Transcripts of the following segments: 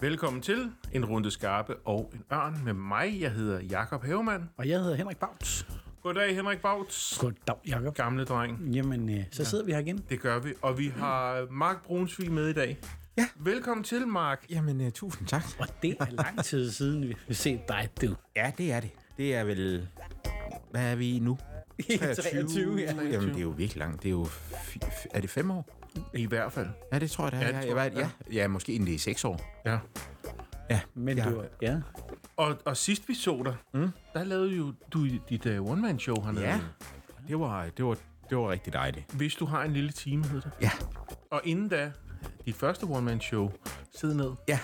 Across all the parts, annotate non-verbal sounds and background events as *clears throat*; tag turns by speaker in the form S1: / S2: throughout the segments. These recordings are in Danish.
S1: Velkommen til En Runde Skarpe og En Ørn med mig. Jeg hedder Jakob Havemann.
S2: Og jeg hedder Henrik Bauts.
S1: Goddag, Henrik Bauts.
S2: Goddag, Jakob.
S1: Gamle dreng.
S2: Jamen, øh, så sidder vi her igen.
S1: Det gør vi. Og vi har Mark Brunsvig med i dag.
S3: Ja.
S1: Velkommen til, Mark.
S3: Jamen, uh, tusind tak.
S2: Og det er lang tid siden, vi har set dig, du.
S3: Ja, det er det. Det er vel... Hvad er vi *laughs* i nu?
S2: 23, ja.
S3: Jamen, det er jo virkelig langt. Det er jo... F- f- er det fem år?
S1: I hvert fald.
S3: Ja, det tror jeg, det
S1: Ja,
S3: er.
S1: det tror
S3: jeg,
S1: jeg,
S3: ja. ja måske inden det er seks år.
S1: Ja.
S3: Ja,
S2: Men
S3: ja.
S2: du, ja.
S1: Og, og sidst vi så dig, mm. der lavede jo du dit uh, one-man-show hernede.
S3: Ja, Øh, det var, det var, det var rigtig dejligt.
S1: Hvis du har en lille time, hed det.
S3: Ja,
S1: Og inden da, dit første one-man-show, sid ned.
S3: ja.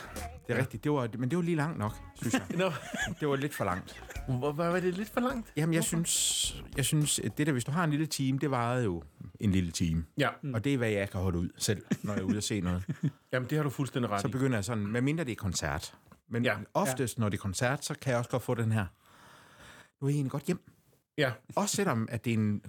S3: Det er rigtigt. Det var, men det var lige langt nok, synes *laughs* jeg.
S1: Nå, *laughs*
S3: Det var lidt for langt.
S1: hvor var det lidt for langt?
S3: Jamen, jeg synes, jeg synes, at det der, hvis du har en lille time, det varede jo en lille time.
S1: Ja,
S3: Og det er, hvad jeg kan holde ud selv, når jeg er ude og se noget.
S1: jamen det har du fuldstændig ret
S3: så
S1: i.
S3: begynder jeg sådan, med mindre det er koncert. Men
S1: Ja.
S3: ja. oftest, ja. når det er koncert, så kan jeg også godt få den her. Nu er jeg egentlig godt hjem.
S1: Ja,
S3: Også selvom, at det er en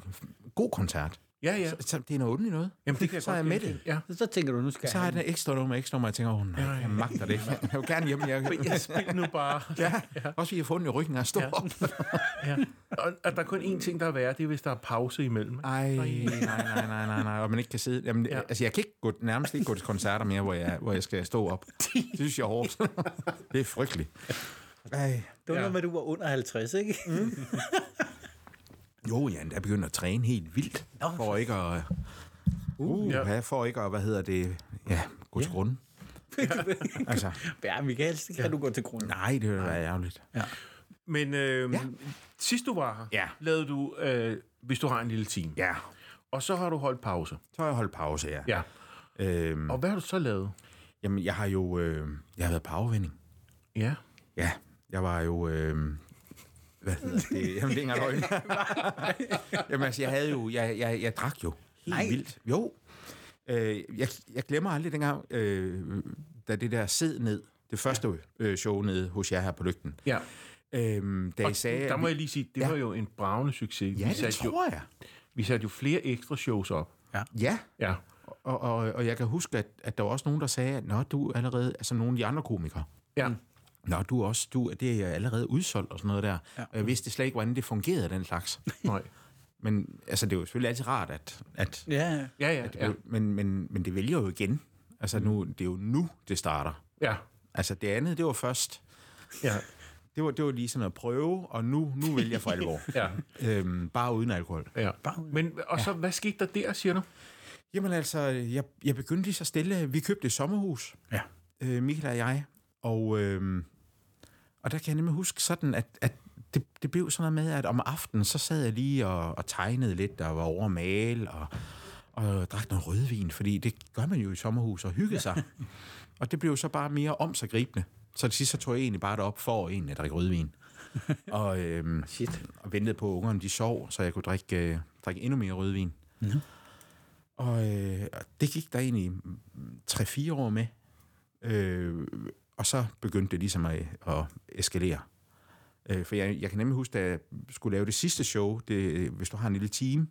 S3: god koncert.
S1: ja, ja.
S3: Så, så det er noget ondt noget.
S1: Jamen, det kan jeg
S3: så er jeg
S1: godt
S3: med
S1: genkende.
S3: det.
S1: Ja.
S2: Så, så tænker du, nu skal
S3: Så har jeg den ekstra nummer, ekstra nummer, og jeg tænker, åh nej, jeg
S1: *laughs*
S3: magter det ikke. Jeg vil gerne hjem. Jeg,
S1: Jeg spil nu bare.
S3: *laughs* ja. Også fordi jeg får den i ryggen og står ja. op.
S1: *laughs* Ja. Og, og der er kun én ting, der er værre, det er, hvis der er pause imellem.
S3: Ej, nej, nej, nej, nej, nej. Og man ikke kan sidde. Jamen,
S1: Ja.
S3: ja. Altså, jeg kan ikke gå, nærmest ikke gå til koncerter mere, hvor jeg, hvor jeg skal stå
S1: *laughs*
S3: op. Det synes jeg er hårdt. Det er frygteligt. Ej.
S2: Det var
S1: Ja.
S2: noget med, at du var under 50, ikke?
S3: Jo, Jan, der begynder at træne helt vildt.
S2: Nå.
S3: For ikke at... Uh,
S1: Ja.
S3: ja. ja, for ikke at, hvad hedder det, ja, gå til *laughs* grunden. altså,
S2: Ja, Michael, det kan ja. du gå til grunden.
S3: nej, det ville være ærgerligt. Ja.
S1: Men øh, ja.
S3: Ja.
S1: sidst du var her,
S3: Ja.
S1: lavede du, øh, hvis du har en lille time.
S3: ja.
S1: Og så har du holdt pause.
S3: Så har jeg holdt pause, ja.
S1: Ja.
S3: Øhm,
S1: Og hvad har du så lavet?
S3: jamen, jeg har jo øh, jeg har været på afvinding.
S1: Ja.
S3: Ja, jeg var jo... Øh, hvad hedder det? Jamen, det er ikke engang løgn.
S1: *laughs*
S3: Jamen, altså, jeg havde jo... Jeg, jeg, jeg drak jo. Helt
S2: Nej.
S3: vildt. Jo. Øh, jeg, jeg glemmer aldrig dengang, øh, da det der sid ned, det første øh, show nede hos jer her på Lygten,
S1: ja.
S3: Øhm, da
S1: Og
S3: I sagde...
S1: der
S3: at
S1: må
S3: vi-
S1: jeg lige sige, det ja.
S3: Ja.
S1: var jo en bravende succes.
S3: Ja,
S1: vi
S3: det
S1: satte jo,
S3: tror jeg.
S1: Vi satte jo flere ekstra shows op.
S3: Ja,
S1: Ja.
S3: og, og, og jeg kan huske, at, at der var også nogen, der sagde, at Nå, du er allerede... Altså nogle af de andre komikere.
S1: Ja.
S3: Nå, du er også... Du, det er allerede udsolgt og sådan noget der. Ja. Og jeg vidste slet ikke, hvordan det fungerede, den slags.
S1: Nej.
S3: Men altså, det er jo selvfølgelig altid rart, at... *laughs* at
S2: Ja, ja.
S1: Ja, ja, ja.
S3: ja. men, men, men det vælger jo igen. Altså, nu, det er jo nu, det starter.
S1: Ja.
S3: Altså, det andet, det var først...
S1: Ja.
S3: Det var, det var lige sådan at prøve, og nu, nu vælger jeg for alvor.
S1: *laughs* Ja.
S3: øhm, bare uden alkohol.
S1: ja. Men, og så, ja. hvad skete der der, siger du?
S3: Jamen altså, jeg, jeg begyndte lige så stille. Vi købte et sommerhus,
S2: Ja.
S3: øh, Michael og jeg, og, øh, og der kan jeg nemlig huske sådan, at, at det, det blev sådan noget med, at om aftenen, så sad jeg lige og, og tegnede lidt, og var over at male, og, og drak noget rødvin, fordi det gør man jo i sommerhus, og hygge sig. og det blev så bare mere om sig gribende. Så til sidst, så tog jeg egentlig bare op for egentlig at drikke rødvin. og, øh,
S2: Shit.
S3: og ventede på, at ungerne de sov, så jeg kunne drikke, øh, drikke endnu mere rødvin. Og øh, og det gik der egentlig 3-4 år med. Øh, og så begyndte det ligesom at, at eskalere. Øh, for jeg, jeg kan nemlig huske, da jeg skulle lave det sidste show, det, hvis du har en lille time,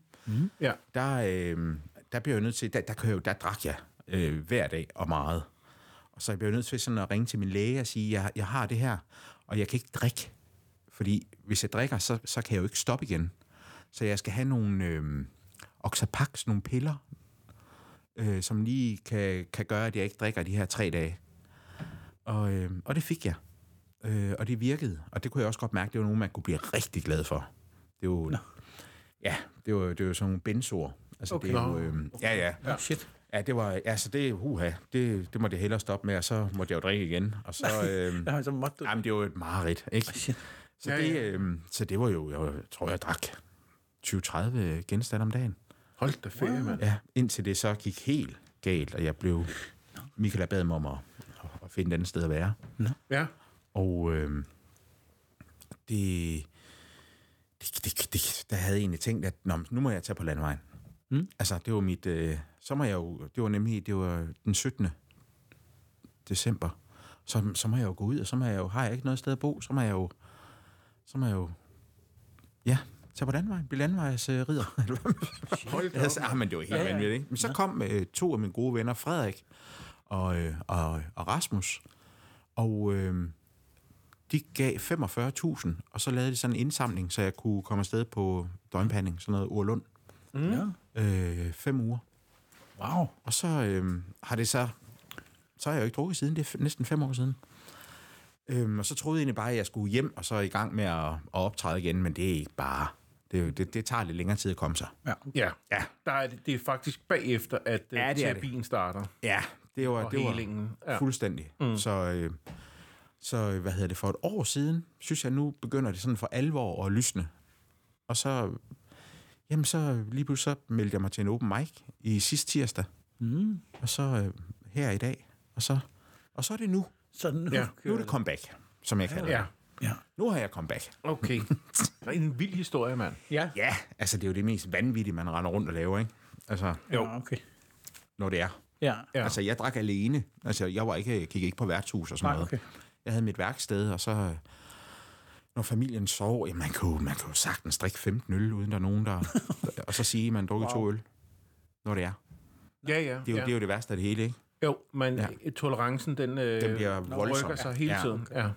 S1: Ja.
S3: der, øh, der blev jeg nødt til, der, der, kunne jeg jo, der drak jeg øh, hver dag og meget. Og så blev jeg nødt til sådan at ringe til min læge og sige, jeg, jeg har det her, og jeg kan ikke drikke. Fordi hvis jeg drikker, så, så kan jeg jo ikke stoppe igen. Så jeg skal have nogle øh, oxapax, nogle piller, øh, som lige kan, kan gøre, at jeg ikke drikker de her tre dage. Og, øh, og det fik jeg. Øh, og det virkede. Og det kunne jeg også godt mærke, det var nogen, man kunne blive rigtig glad for. Det var, ja, det var, det var sådan nogle benzoer. Altså, okay. det er jo, øh, ja, ja.
S2: Oh, shit.
S3: Ja, det var, altså det, uha, det, det måtte jeg hellere stoppe med, og så måtte jeg jo drikke igen.
S1: *laughs*
S3: Og så, øh,
S2: Nå, så måtte du...
S3: jamen, det var jo et mareridt, ikke?
S2: shit.
S3: Så,
S1: Ja,
S3: det,
S1: ja.
S3: øh, så det var jo, jeg tror, jeg drak 20-30 genstande om dagen.
S1: Hold da ferie, mand.
S3: Ja, indtil det så gik helt galt, og jeg blev... Michael bad mig om at, at finde et andet sted at være.
S1: Ja.
S3: Og øh, det, det, det, det, der havde jeg egentlig tænkt, at Nå, men nu må jeg tage på landvejen. Mm. Altså, det var mit... Øh, så må jeg jo... Det var nemlig det var den 17. december. Så, så må jeg jo gå ud, og så må jeg jo... Har jeg ikke noget sted at bo, så må jeg jo... Så må jeg jo... Ja, Så på landvejen, blev landvejsrider.
S1: Hold da op.
S3: altså, ah, men det var helt
S2: Ja,
S3: ja,
S2: ja.
S3: vanvittigt, ikke? Men så kom øh, to af mine gode venner, Frederik og, øh, og, og Rasmus, og øh, de gav 45.000, og så lavede de sådan en indsamling, så jeg kunne komme afsted på døgnbehandling, sådan noget Urlund,
S2: Mm. Ja.
S3: øh, fem uger.
S2: Wow.
S3: Og så øh, har det så... Så har jeg jo ikke drukket siden. Det er f- næsten fem år siden. Øhm, og så troede jeg egentlig bare, at jeg skulle hjem, og så i gang med at, at optræde igen, men det er ikke bare... Det, er jo- det, det tager lidt længere tid at komme sig.
S2: Ja.
S1: Ja.
S3: Ja.
S1: Der er, det er faktisk bagefter, at ja,
S3: det er
S1: det
S3: det.
S1: terapien starter.
S3: Ja, det var,
S1: Og
S3: det var
S1: helingen, ja.
S3: ja. fuldstændig. Mm. Så, øh, så, øh, hvad hedder det, for et år siden, synes jeg, nu begynder det sådan for alvor at lysne. Og så, jamen så lige pludselig så meldte jeg mig til en open mic i sidste tirsdag,
S2: Mm.
S3: og så øh, her i dag, og så, og så er det nu.
S2: Sådan nu
S1: Ja.
S3: Nu
S2: kører
S3: er det comeback, som jeg kalder det.
S1: Ja,
S2: Ja.
S3: Nu har jeg comeback. *laughs*
S1: okay. Det er en vild historie, mand.
S2: Ja.
S3: Ja, altså det er jo det mest vanvittige, man render rundt og laver, ikke? Altså,
S1: Jo.
S2: Ja, okay.
S3: når det er.
S2: Ja.
S1: Ja.
S3: Ja. Altså, jeg drak alene. Altså, jeg var ikke, jeg gik ikke på værtshus og sådan
S2: Nej,
S3: noget.
S2: okay.
S3: Jeg havde mit værksted, og så... øh, Når familien sov, jamen, man kunne, man kunne sagtens drikke 15 øl, uden der er nogen, der... og så sige, at man drukker wow. to øl. Når det er.
S1: Ja, ja.
S3: Det er, jo,
S1: ja.
S3: det er jo det værste af det hele, ikke?
S1: Jo, men ja.
S3: Ja.
S1: tolerancen, den, øh,
S3: Den bliver voldsom.
S1: rykker sig hele
S3: Ja.
S1: tiden. Ja.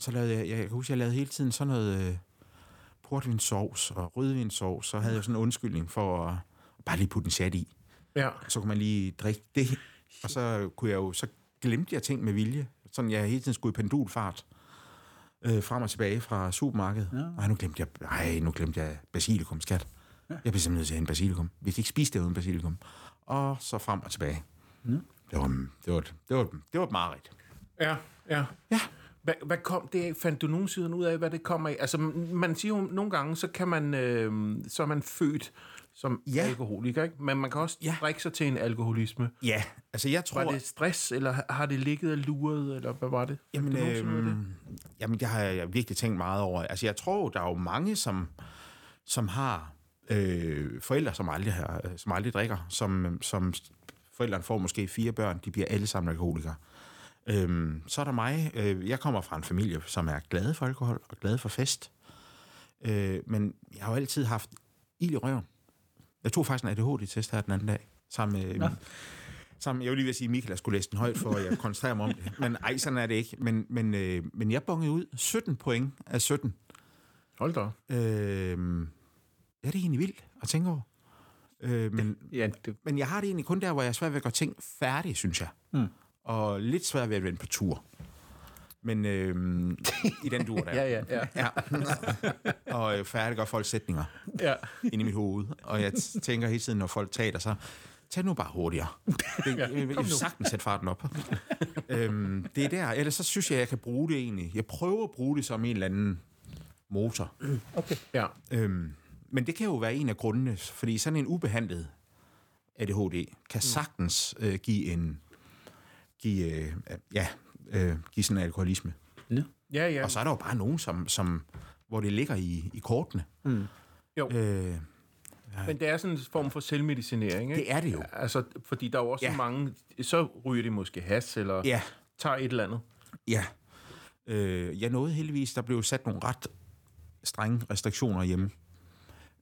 S3: Så lavede jeg, jeg, jeg kan huske, jeg lavede hele tiden sådan noget øh, portvinsovs og rødvinsovs. Så havde jeg sådan en undskyldning for at bare lige putte en chat i.
S1: ja.
S3: så kunne man lige drikke det. Og så kunne jeg jo, så glemte jeg ting med vilje. Sådan, jeg hele tiden skulle i pendulfart øh, frem og tilbage fra supermarkedet. Ja. Ej, nu glemte jeg, ej, nu glemte jeg basilikum, skat. Ja. Jeg blev simpelthen nødt til at have en basilikum. Vi kan ikke spise det uden basilikum. Og så frem og tilbage. Ja. Det, var, det, var, et- det, var, det var et mareridt.
S1: Ja, ja.
S3: Ja.
S1: Hvad, hvad kom det af? Fandt du nogensinde ud af, hvad det kommer af? Altså, m- man siger jo, nogle gange, så, kan man, øh, så er man født som ja.
S3: Ja.
S1: alkoholiker, ikke? Men man kan også ja.
S3: Ja.
S1: drikke sig til en alkoholisme.
S3: Ja, altså jeg tror...
S1: Var det stress, eller har- har det ligget og luret, eller hvad var det?
S3: Jamen,
S1: Fandt du nogensinde ud af det?
S3: øhm, jamen, det har jeg, jeg virkelig tænkt meget over. Altså, jeg tror, der er jo mange, som, som har øh, forældre, som aldrig, har, øh, som aldrig drikker, som, som forældrene får måske fire børn, de bliver alle sammen alkoholikere. Øhm, så er der mig. Øh, jeg kommer fra en familie, som er glad for alkohol og glad for fest. Øh, men jeg har jo altid haft ild i røven. Jeg tog faktisk en ADHD-test her den anden dag, sammen med... Ja. Sammen, jeg vil lige ved at sige, at Michael jeg skulle læse den højt, for at jeg koncentrerer mig om det. Men ej, sådan er det ikke. Men, men, øh, men jeg bongede ud 17 point af 17.
S1: Hold da. op.
S3: Øh, ja, det er egentlig vildt at tænke over. Øh, men,
S2: Ja, det,
S3: men jeg har det egentlig kun der, hvor jeg er svært ved at gøre ting færdige, synes jeg. Mm. Og lidt svært ved at vende på tur. Men øh, i den dur der.
S1: Ja, ja, ja.
S3: ja. *laughs* og øh, færdiggør folk sætninger
S1: ja.
S3: inde i mit hoved. Og jeg t- tænker hele tiden, når folk taler så, tag nu bare hurtigere. Det, jeg, jeg vil sagtens sætte farten op. *laughs* øhm, det er der. Ellers så synes jeg, jeg kan bruge det egentlig. Jeg prøver at bruge det som en eller anden motor.
S1: ja.
S3: Øhm, men det kan jo være en af grundene, fordi sådan en ubehandlet ADHD
S1: Mm.
S3: kan sagtens øh, give en give, øh, ja, øh, give sådan en alkoholisme.
S1: Ja, ja.
S3: Og så er der jo bare nogen, som, som, hvor det ligger i, i kortene. Mm.
S1: Jo.
S3: Øh,
S1: Men det er sådan en form for selvmedicinering, ikke?
S3: det er det jo.
S1: Altså, fordi der er jo også ja.
S3: Ja.
S1: mange, så ryger de måske has, eller ja.
S3: Ja,
S1: tager et eller andet.
S3: ja. Øh, jeg nåede heldigvis, der blev sat nogle ret strenge restriktioner hjemme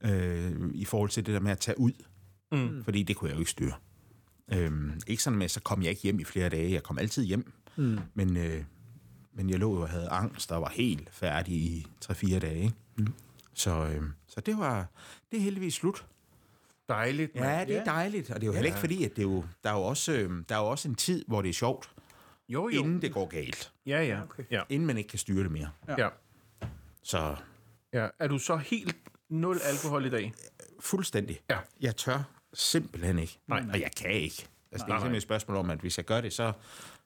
S3: øh, i forhold til det der med at tage ud. Mm. Fordi det kunne jeg jo ikke styre. Øhm, ikke sådan med, at så kom jeg ikke hjem i flere dage. Jeg kom altid hjem. Mm. Men, øh, men jeg lå og havde angst og var helt færdig i 3-4 dage. ikke? Mm. Så, øh, så det var det er heldigvis slut.
S1: Dejligt, mand.
S3: Ja, det er dejligt. Og det er jo heller ikke fordi, at det er jo, der, er jo også, øh, der er jo også en tid, hvor det er sjovt,
S1: Jo, jo.
S3: inden det går galt.
S1: Ja, ja.
S2: Okay.
S1: ja.
S3: Inden man ikke kan styre det mere.
S1: Ja.
S3: Så
S1: ja. Er du så helt nul alkohol i dag?
S3: fuldstændig.
S1: Ja.
S3: Jeg tør simpelthen ikke. Nej. Og jeg kan ikke. Altså, det er simpelthen et spørgsmål om, at hvis jeg gør det, så,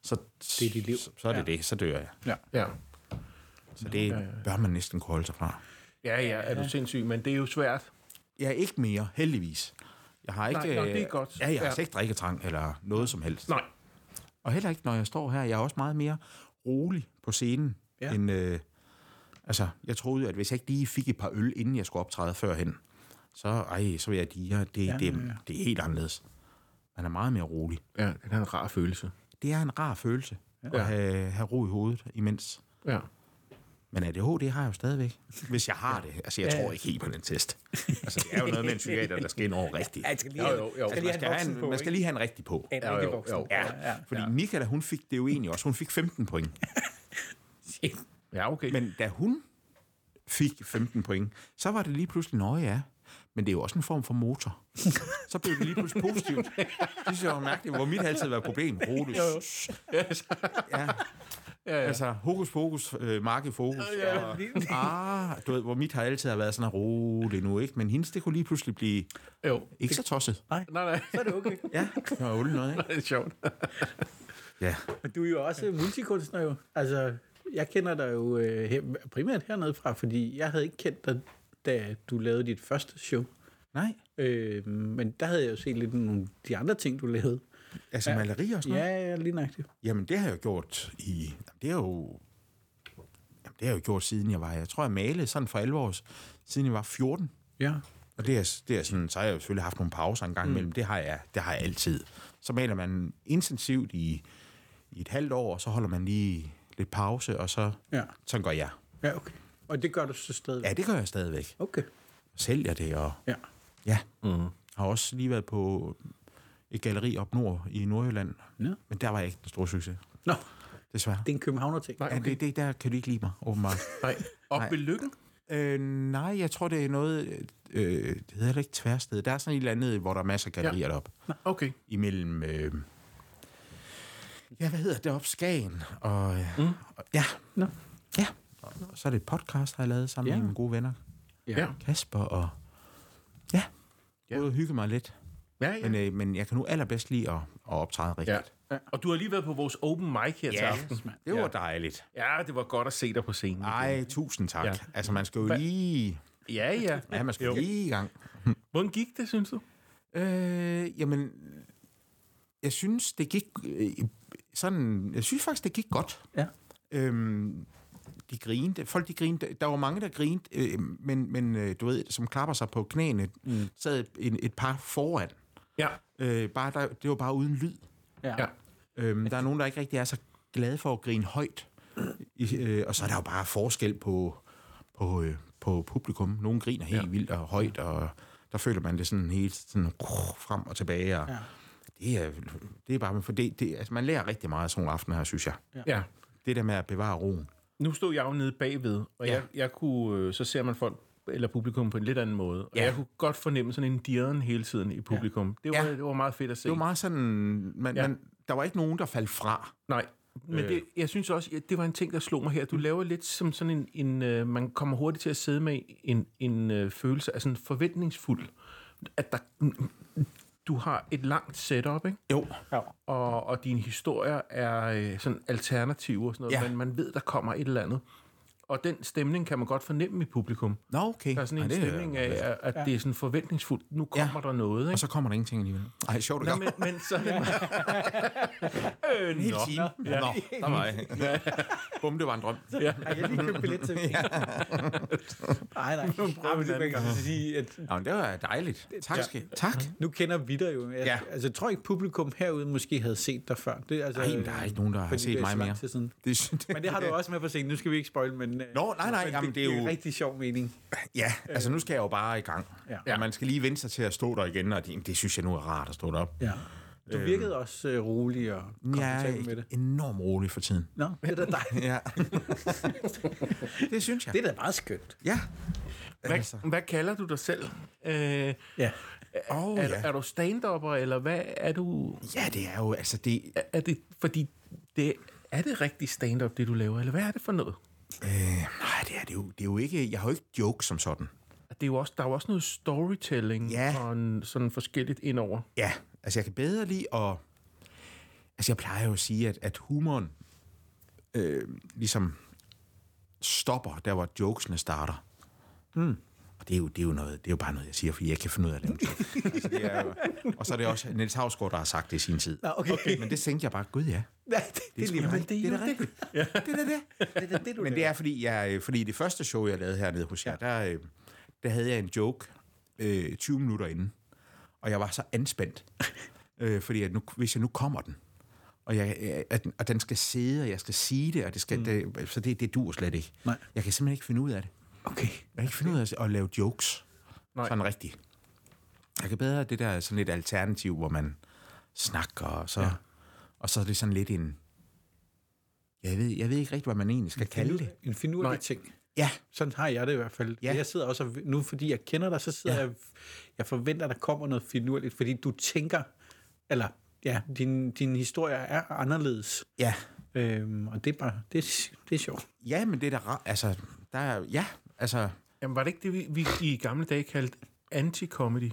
S3: så, det
S2: er dit liv.
S3: så, så er det
S2: Ja.
S3: det. Så dør jeg.
S1: Ja.
S3: Så det bør man næsten kunne holde sig fra.
S1: Ja, ja, er du sindssyg, men det er jo svært.
S3: Ja, ikke mere, heldigvis. Jeg har ikke...
S1: Nej, nå,
S3: øh,
S1: det er godt.
S3: Ja, jeg har
S1: Ja.
S3: altså ikke drikketrang eller noget som helst.
S1: Nej.
S3: Og heller ikke, når jeg står her. Jeg er også meget mere rolig på scenen.
S2: Ja.
S3: Ja. End, øh, altså, jeg troede, at hvis jeg ikke lige fik et par øl, inden jeg skulle optræde førhen, så, ej, så vil jeg dire, det, ja, det, ja. det er helt anderledes. Man er meget mere rolig.
S1: Ja, det er en rar følelse.
S3: Det er en rar følelse ja. at have, have ro i hovedet imens.
S1: Ja.
S3: Men ADHD har jeg jo stadigvæk. Hvis jeg har det. Altså, jeg tror ikke helt på den
S4: *laughs*
S3: test. Altså, det er jo noget med en psykiater, der skal ind over rigtigt.
S4: Ja, jeg skal lige have-
S1: Jo, jo, jo.
S4: jeg skal
S3: Altså,
S4: lige have
S3: man, skal
S4: en voksen
S3: have en,
S4: på,
S3: man skal
S4: ikke?
S3: lige have en rigtig på.
S4: En rigtig
S1: jo,
S4: voksen.
S1: jo.
S4: Ja,
S3: Ja, fordi Michael, hun fik det jo egentlig også. Hun fik 15 point.
S1: Ja, okay. Men,
S3: Men da hun fik 15 point, så var det lige pludselig, nå ja, men det er jo også en form for motor. så blev det lige pludselig positivt. Det synes jeg var mærkeligt, hvor mit altid var et problem. Rotus. Ja. Altså, hokus pokus, øh, marke fokus. Og, ah, du ved, hvor mit har altid har været sådan, at roligt nu, ikke? Men hendes, det kunne lige pludselig blive
S1: jo.
S3: ikke så tosset.
S1: Nej, nej,
S4: Så er det okay.
S3: Ja, det var jo noget, ikke?
S1: *laughs* det er sjovt.
S3: Ja.
S4: Men du er jo også multikunstner jo. Altså, jeg kender dig jo øh, her, primært hernede fra, fordi jeg havde ikke kendt dig, da du lavede dit første show.
S3: Nej,
S4: Øh, men der havde jeg jo set lidt nogle af de andre ting, du lavede.
S3: altså maleri og sådan noget.
S4: Ja, ja, lige nøjagtigt.
S3: Jamen, det har jeg gjort i... Jamen, det har jo... Jamen, det har jeg jo gjort siden jeg var... Jeg tror, jeg malede sådan for 11 år, siden jeg var 14.
S4: Ja.
S3: Og det er, det er sådan, så har jeg jo selvfølgelig haft nogle pauser en gang imellem. Det har jeg, det har jeg altid. Så maler man intensivt i, i et halvt år, og så holder man lige lidt pause, og så
S4: Ja.
S3: sådan gør jeg.
S4: Ja, okay. Og det gør du så stadig?
S3: Ja, det gør jeg stadigvæk.
S4: Okay.
S3: Sælger det, og
S4: Ja.
S3: ja. Mm. Har også lige været på et galeri op nord i Nordjylland.
S4: Nå.
S3: Men der var jeg ikke den store succes,
S4: Nå,
S3: desværre.
S4: det er en københavner-ting.
S3: Ja, det, det, der kan du ikke lide mig, åbenbart.
S1: Nej. Op ved lykken?
S3: *laughs* øh, nej, jeg tror, det er noget... Øh, det hedder heller ikke tværsted. Der er sådan et eller andet, hvor der er masser af gallerier ja. deroppe.
S1: Okay.
S3: Imellem... Øh, ja, hvad hedder det op Skagen? Og, mm. og, ja.
S4: Nå.
S3: ja. Og, og så er det et podcast, har jeg lavet sammen
S4: Ja.
S3: ja. med mine gode venner.
S1: Ja.
S3: Kasper og... Ja.
S1: Ja.
S3: Ja. Både hygge mig lidt.
S1: Ja, ja.
S3: Men, øh, men jeg kan nu allerbedst lide at, at optræde
S1: ja.
S3: rigtigt.
S1: Og du har lige været på vores open mic her til aften.
S3: Det var dejligt.
S1: Ja, det var godt at se dig på scenen.
S3: Ej, tusind tak.
S1: Ja.
S3: Ja. Altså, man skal jo lige...
S1: Ja, ja.
S3: Ja, man skal jo. lige i gang.
S1: Hvordan gik det, synes du?
S3: Øh, jamen, jeg synes, det gik øh, sådan... Jeg synes faktisk, det gik godt.
S4: Ja.
S3: Øhm, de grinte. Folk, de grinte. Der var mange, der grinte, øh, men, men øh, du ved, som klapper sig på knæene, mm. sad et, et par foran.
S1: Ja.
S3: Øh, bare der, det var bare uden lyd.
S4: Ja.
S1: Ja.
S4: ja.
S3: Øhm, der er nogen, der ikke rigtig er så glade for at grine højt. I, øh, og så er der jo bare forskel på, på, øh, på publikum. Nogle griner helt ja. vildt og højt, og der føler man det sådan helt sådan, uh, frem og tilbage. Og ja. det, er, det er bare... For det, det, altså, man lærer rigtig meget af sådan nogle aftener her, synes jeg.
S1: ja.
S3: Det der med at bevare roen.
S1: Nu stod jeg jo nede bagved, og ja. jeg, jeg kunne, øh, så ser man folk eller publikum på en lidt anden måde. Og
S3: Ja.
S1: jeg kunne godt fornemme sådan en dirren hele tiden i publikum. Det var,
S3: Ja.
S1: det var meget fedt at se.
S3: Det var meget sådan... Man,
S1: Ja.
S3: ja. man, der var ikke nogen, der faldt fra.
S1: Nej, men
S3: Øh.
S1: det, jeg synes også, at det var en ting, der slog mig her.
S3: Mm.
S1: Du laver lidt som sådan en... en øh, man kommer hurtigt til at sidde med en, en øh, følelse af sådan forventningsfuld. At der, du har et langt setup, ikke?
S3: Jo.
S1: Og, og dine historier er øh, sådan alternative og sådan noget, ja.
S3: Ja.
S1: men man ved, der kommer et eller andet. Og den stemning kan man godt fornemme i publikum.
S3: Nå, okay.
S1: Der er sådan en
S3: Ej, det er-
S1: stemning af, at- at det er sådan forventningsfuldt. Nu kommer ja. der noget,
S3: Og
S1: ikke?
S3: så kommer der ingenting alligevel. Ej, sjovt
S1: Nå,
S3: at
S1: men, men så... *laughs* øh,
S3: En hel
S1: nå.
S3: time. Nå, ja. Nå der var jeg. Bum, det var en drøm.
S4: Jeg kan lige købe billet til. *laughs* ja. Nej, nej. Jamen, det kan jeg sige, at
S3: Nå, men det var dejligt. Tak. Ja. tak.
S4: nu kender vi dig jo. Jeg,
S3: Ja.
S4: Altså, jeg tror ikke, publikum herude måske havde set dig før. Det, er altså,
S3: Nej, der er ikke nogen, der har
S4: fordi det
S3: set
S4: er så
S3: mig
S4: lang
S3: mere.
S4: tid siden.
S3: Det, det,
S4: Men det har du også med på scenen. Nu skal vi ikke spoil, men...
S3: Nå, nej, nej, jamen, det er
S4: en
S3: jo-
S4: rigtig sjov mening.
S3: *laughs* Ja, altså nu skal jeg jo bare i gang.
S4: Ja.
S3: Ja. Og man skal lige vende sig til at stå der igen, og det, det synes jeg nu er rart at stå derop.
S4: Ja. Du
S3: Øhm.
S4: virkede også øh, rolig og
S3: Jeg
S4: komfortabel med
S3: er
S4: det.
S3: enormt rolig for tiden.
S4: Nå, det er da
S3: *laughs*
S4: dejligt. *laughs*
S3: Ja. det synes jeg.
S4: Det er da meget skønt.
S3: Ja. Altså.
S1: Hvad, hvad kalder du dig selv? Øh, er,
S4: Ja.
S3: Oh,
S1: ja.
S3: ja.
S1: er du stand-upper, eller hvad er du...
S3: ja, det er jo, altså det,
S1: Er, er det, fordi det, er det rigtig stand-up, det du laver, eller hvad er det for noget?
S3: øh, nej, det er det jo, det er jo ikke, jeg har jo ikke jokes som sådan.
S1: Det er jo også, der er jo også noget storytelling
S3: Ja.
S1: og en, sådan forskelligt indover.
S3: Ja, altså jeg kan bedre lide at... Altså jeg plejer jo at sige, at, at humoren øh, ligesom stopper der, hvor jokesene starter. Mm. Og det er, jo, det, er jo noget, det er jo bare noget, jeg siger, fordi jeg ikke kan finde ud af at lave jokes. altså, det er jo, og så er det også Niels Havsgaard, der har sagt det i sin tid.
S4: Nå, okay. okay. *laughs*
S3: Men det tænkte jeg bare, gud ja.
S4: Nej, det, det, er lige
S3: sgu da
S4: meget.
S3: rigtigt. det er da rigtigt. Ja. Det er da det.
S4: Det, det, det, du
S3: Men
S4: laver.
S3: det er, fordi, jeg, øh, fordi det første show, jeg lavede hernede hos jer, der, øh, der havde jeg en joke øh, 20 *laughs* minutter inden. Og jeg var så anspændt, øh, fordi at nu, hvis jeg nu kommer den, og og, jeg, øh, at, og den skal sidde, og jeg skal sige det, og det skal, mm. det, så det, det dur slet ikke.
S4: Nej.
S3: Jeg kan simpelthen ikke finde ud af det.
S4: Okay.
S3: Jeg kan ikke finde ud af at- at lave jokes.
S1: Nej.
S3: Nej. Sådan rigtigt. Jeg kan bedre det der sådan et alternativ, hvor man snakker, og så, ja. og så er det sådan lidt en... Jeg ved, jeg ved ikke rigtig, hvad man egentlig skal kalde det.
S4: En finurlig
S1: Nej.
S4: ting.
S3: Ja,
S4: Sådan har jeg det i hvert fald.
S3: Ja.
S4: Ja. Jeg sidder også, og, nu fordi jeg kender dig, så sidder ja. jeg, jeg forventer, der kommer noget finurligt, fordi du tænker, eller ja, din, din historie er anderledes.
S3: ja.
S4: Øhm, og det er bare, det, er- det er sjovt.
S3: Ja, men det er da ra- Altså, der er... Ja, altså...
S1: Jamen, var det ikke det, vi, vi i gamle dage kaldte anti-comedy?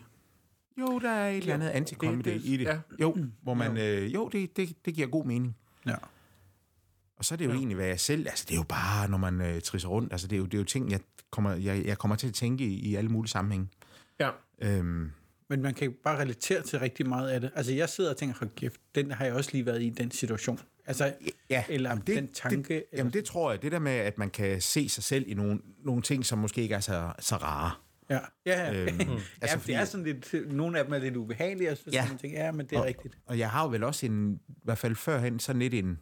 S3: Jo, der er et eller andet antikomedy
S1: det-
S3: i det.
S1: ja.
S3: Jo, *clears throat* hvor man... Øh, jo, det, det, det giver god mening.
S4: Ja.
S3: Og så er det jo ja. egentlig, hvad jeg selv... Altså, det er jo bare, når man øh, trisser rundt. Altså, det er jo, det er jo ting, jeg kommer, jeg, jeg kommer til at tænke i, i alle mulige sammenhænge.
S1: Ja.
S3: Øhm,
S4: Men man kan jo bare relatere til rigtig meget af det. Altså, jeg sidder og tænker, hold kæft, den har jeg også lige været i, den situation. Altså,
S3: ja,
S4: eller
S3: jamen,
S4: det, den tanke.
S3: Det,
S4: eller,
S3: jamen, det tror jeg. Det der med, at man kan se sig selv i nogle, nogle ting, som måske ikke er så, så rare.
S4: ja, ja, *laughs* ja. Øhm,
S3: Øhm,
S4: altså, ja
S3: altså,
S4: det
S3: fordi-
S4: er sådan lidt, nogle af dem er lidt ubehagelige, og så
S3: Ja.
S4: ja. man tænker, ja, men det er og, rigtigt.
S3: Og jeg har jo vel også en, i hvert fald førhen, sådan lidt en,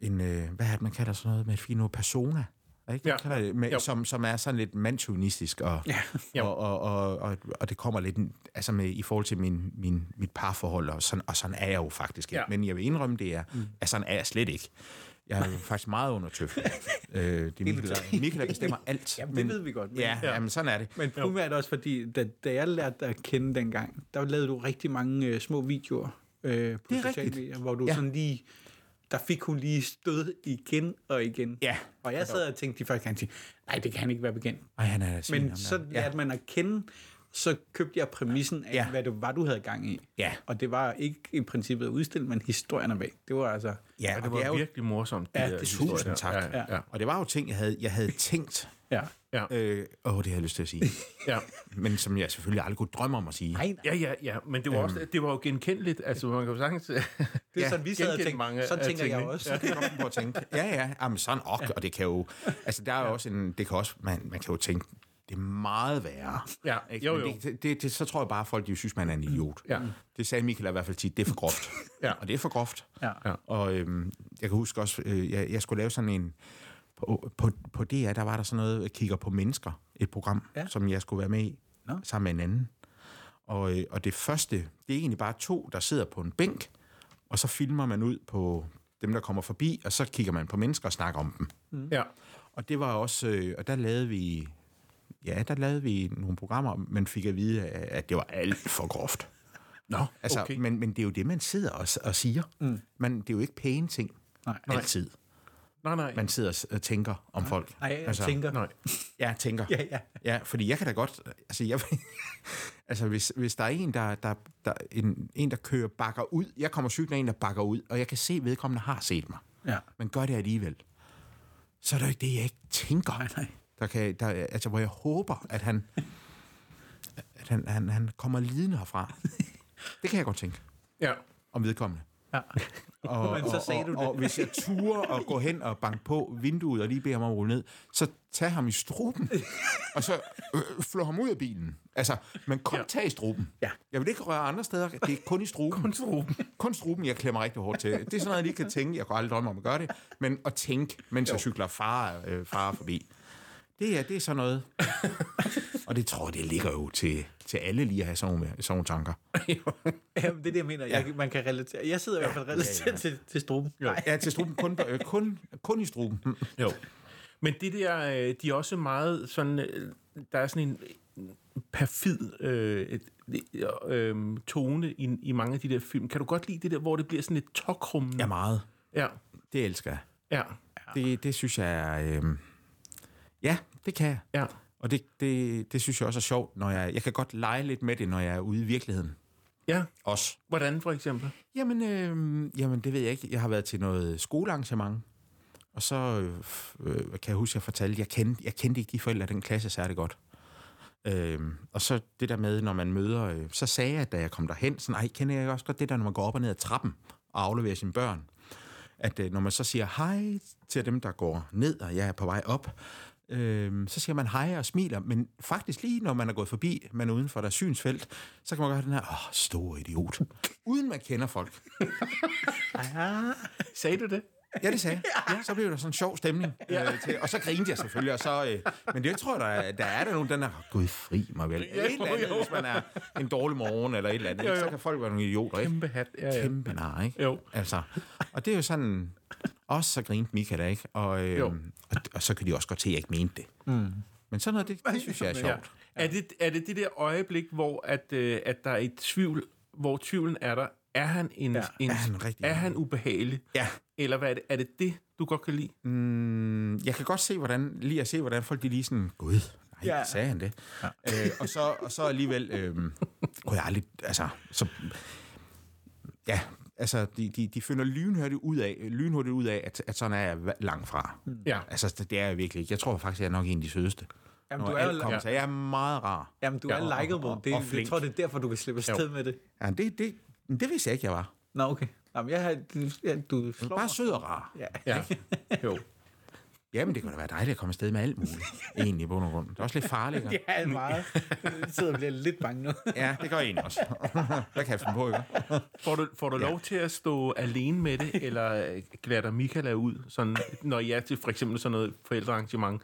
S3: en øh, hvad er det, man kalder sådan noget med et fint ord, persona, ikke?
S1: Ja.
S3: Man kalder det, med,
S1: Jo.
S3: som, som er sådan lidt mandsjunistisk, og, *laughs*
S1: Jo.
S3: og, og, og, og, og, det kommer lidt altså med, i forhold til min, min, mit parforhold, og sådan, og sådan er jeg jo faktisk ikke.
S1: Ja.
S3: Ja. Men jeg vil indrømme, det er, mm. at sådan er jeg slet ikke. Jeg er jo faktisk meget under tøf. øh, det er Mikkel, der, Mikkel, der bestemmer alt.
S4: Jamen, det ved vi godt, men-
S3: Men, ja, ja. Jamen, sådan er det.
S4: Men primært også fordi, da, da jeg lærte dig at kende dengang, der lavede du rigtig mange øh, små videoer øh, på
S3: Det er
S4: sociale
S3: rigtigt.
S4: medier, hvor du
S3: Ja.
S4: ja. sådan lige, der fik hun lige stød igen og igen.
S3: Ja.
S4: Og jeg sad og tænkte de første gange, tænkte, nej, det kan han ikke være bekendt.
S3: Ej, han er da svin, ham
S4: Men
S3: der.
S4: så
S3: ja.
S4: lærte man at kende, så købte jeg præmissen af,
S3: Ja.
S4: ja. hvad det var, du havde gang i.
S3: Ja.
S4: Og det var ikke i princippet at udstille, men historien er bag. Det var altså...
S3: Ja,
S1: Og
S3: og
S1: det var
S3: det er jo
S1: virkelig morsomt. de
S4: Ja,
S1: der
S4: det er
S1: historier
S3: Tusind
S1: der.
S3: tak.
S1: Ja, ja, ja.
S3: Og det var jo ting, jeg havde, jeg havde tænkt.
S4: Ja.
S1: ja,
S3: Øh, åh, det har jeg lyst til at
S1: *laughs*
S3: sige.
S1: ja.
S3: Men som jeg selvfølgelig aldrig kunne drømme om at sige.
S4: Nej, nej.
S1: Ja, ja, ja, men det var, også, det var jo genkendeligt, altså man kan jo sagtens...
S4: Øhm.
S1: *laughs*
S4: Det er sådan, vi sad og
S1: genkende
S4: tænkte,
S1: mange
S4: sådan
S1: af
S4: tænker jeg
S1: tingene.
S4: også.
S3: Så kan jeg godt finde på at tænke. Ja, ja, jamen sådan ok, og det kan jo... Altså, der er jo også en... Det kan også... Man, man kan jo tænke, det er meget værre.
S1: Ja,
S3: Ikke?
S1: jo,
S3: Men
S1: jo.
S3: Det, det, det, så tror jeg bare, at folk de synes, man er en idiot.
S1: Ja.
S3: Det sagde Michael i hvert fald tit, det er for groft.
S1: Ja.
S3: Og det er for groft.
S4: Ja.
S1: Ja.
S3: Og øhm, jeg kan huske også, øh, jeg, jeg skulle lave sådan en... På, på, på DR, der var der sådan noget, jeg kigger på mennesker, et program, ja.
S4: Ja.
S3: som jeg skulle være med i,
S4: Nå.
S3: sammen med en anden. Og, øh, og det første, det er egentlig bare to, der sidder på en bænk, og så filmer man ud på dem, der kommer forbi, og så kigger man på mennesker og snakker om dem.
S1: ja,
S3: Og det var også, øh, og der lavede vi, ja, der lavede vi nogle programmer, men fik at vide, at at det var alt for groft.
S1: Nå,
S3: Altså,
S1: okay.
S3: okay. men, men det er jo det, man sidder og, s- og siger. Mm. Man, det er jo ikke pæne ting.
S4: Nej.
S3: Altid.
S1: Nej, nej.
S3: Man sidder og s- og tænker om folk.
S4: Nej, jeg altså, tænker...
S1: nej.
S3: Ja, tænker.
S4: Ja, ja.
S3: Ja, fordi jeg kan da godt... Altså, jeg, *laughs* altså hvis, hvis der er en der, der, der, en, en, der kører bakker ud... Jeg kommer sygt af en, der bakker ud, og jeg kan se, at vedkommende har set mig.
S4: Ja.
S3: Men gør det alligevel. Så er det jo ikke det, jeg ikke tænker.
S4: Nej, nej.
S3: Der kan, der, altså, hvor jeg håber, at han, at han, han, han kommer lidende
S4: *laughs*
S3: herfra. Det kan jeg godt tænke
S1: Ja,
S3: om vedkommende.
S4: Ja.
S3: Og,
S4: *laughs* Men så sagde
S3: og,
S4: du det.
S3: og, og hvis jeg turer og gå hen og banke på vinduet og lige beder ham om at rulle ned, så tag ham i
S4: *laughs*
S3: struben, og så øh, flå ham ud af bilen. Altså, men kun ja. tag i struben.
S4: Ja.
S3: Jeg vil ikke røre andre steder, det er kun i struben. Kun
S1: *laughs* struben.
S3: Kun struben, jeg klemmer rigtig hårdt til. Det er sådan noget, jeg lige kan tænke. Jeg kunne aldrig drømme om at gøre det. Men at tænke, mens jo. jeg cykler far, øh, far forbi. Det er, det er sådan
S4: *laughs*
S3: noget. og det tror jeg, det ligger jo til, til alle lige at have sådan nogle, sådan nogle tanker.
S4: Jamen, det er det, jeg mener. Jeg, man kan relatere. Jeg sidder i hvert fald relateret ja, ja. til, til struben. Nej.
S3: Ja, til struben. Kun, på- øh, kun, kun i struben.
S1: jo. Men det der, øh, de er også meget sådan... øh, Der er sådan en øh, perfid øh, et, øh, tone i, i mange af de der film. Kan du godt lide det der, hvor det bliver sådan lidt tokrummende?
S3: Ja, meget.
S1: Ja,
S3: Det elsker jeg.
S1: ja,
S3: Det, det synes jeg er... Øh... Ja, det kan jeg.
S1: ja.
S3: Og det, det, det synes jeg også er sjovt, når jeg... Jeg kan godt lege lidt med det, når jeg er ude i virkeligheden.
S1: Ja,
S3: Også.
S1: hvordan for eksempel?
S3: Jamen, øh, jamen det ved jeg ikke. Jeg har været til noget skolearrangement, og så øh, f- øh, kan jeg huske, at jeg fortalte, at jeg kendte, jeg kendte ikke de forældre af den klasse særlig godt. Øh, og så det der med, når man møder, øh, så sagde jeg, da jeg kom derhen, sådan, ej, kender jeg ikke også godt det der, når man går op og ned ad trappen og afleverer sine børn? At øh, når man så siger hej til dem, der går ned, og jeg er på vej op, Øhm, så siger man hej og smiler, men faktisk lige når man er gået forbi, man er uden for deres synsfelt, så kan man gøre den her, åh, stor idiot, uden man kender folk.
S1: Sagde du det?
S3: Ja, det sagde
S1: *laughs*
S3: jeg. Ja. Så blev der sådan en sjov stemning. Ja. Øh, til, og så grinte jeg selvfølgelig. Og så, øh, men det tror jeg, der, der er der nogen, den er, gud fri mig vel. Ja, et eller andet,
S1: jo.
S3: hvis man er en dårlig morgen eller et eller andet. Jo, jo. Så kan folk være nogle idioter, ikke?
S1: Kæmpe hat. Ja, ja.
S3: Kæmpe nar, ikke?
S1: Jo.
S3: Altså, og det er jo sådan, også så grinte Mika da, ikke? Og, øh,
S1: Jo.
S3: og, og, så kan de også godt se, at jeg ikke mente det. Mm. Men sådan noget, det, det synes jeg er
S1: Ja.
S3: sjovt.
S1: Er, det, er det det der øjeblik, hvor at, øh, at der er et tvivl, hvor tvivlen er der? Er han en, ja. en
S3: Er han rigtig-
S1: er han ubehagelig?
S3: Ja.
S1: Eller hvad er det, er det det, du godt kan lide?
S3: Mm, jeg kan godt se, hvordan, lige at se, hvordan folk de lige sådan, gud, nej, ja.
S4: Ja.
S3: sagde han det. Ja. Øh, og, så, og så alligevel, øh, kunne jeg aldrig, altså, så, ja, altså, de, de, de finder lynhurtigt ud af, lynhurtigt ud af at, at sådan er jeg va- langt fra.
S1: Ja.
S3: Altså, det, det er jeg virkelig ikke. Jeg tror faktisk, jeg er nok en af de sødeste.
S4: Jamen,
S3: Når
S4: du er
S3: alt
S4: jo-
S3: kommer
S1: ja.
S3: til. Jeg er meget rar.
S4: Jamen, du
S1: Ja,
S4: ja, er
S1: og-
S4: likeable.
S1: og- og
S4: Det, og
S1: flink.
S4: jeg tror, det er derfor, du kan slippe afsted med det.
S3: Ja, det, det, det vidste jeg ikke, jeg var.
S4: Nå, okay. Jamen, jeg har, du- ja, du slår
S3: Bare
S4: mig.
S3: sød og rar.
S4: Ja. *laughs*
S1: Ja. Jo.
S3: Jamen, det kunne da være dejligt at komme afsted med alt muligt. Egentlig, i bund og grund. Det er også lidt farligt. ikke?
S4: Ja, meget. Jeg sidder og bliver lidt bange nu.
S3: Ja, det gør jeg egentlig også. *laughs* Hvad kan jeg finde på, ikke?
S1: Får du, får du ja. lov til at stå alene med
S3: *laughs*
S1: det, eller øh, glatter Michaela ud, sådan, når I er til for eksempel sådan noget forældrearrangement?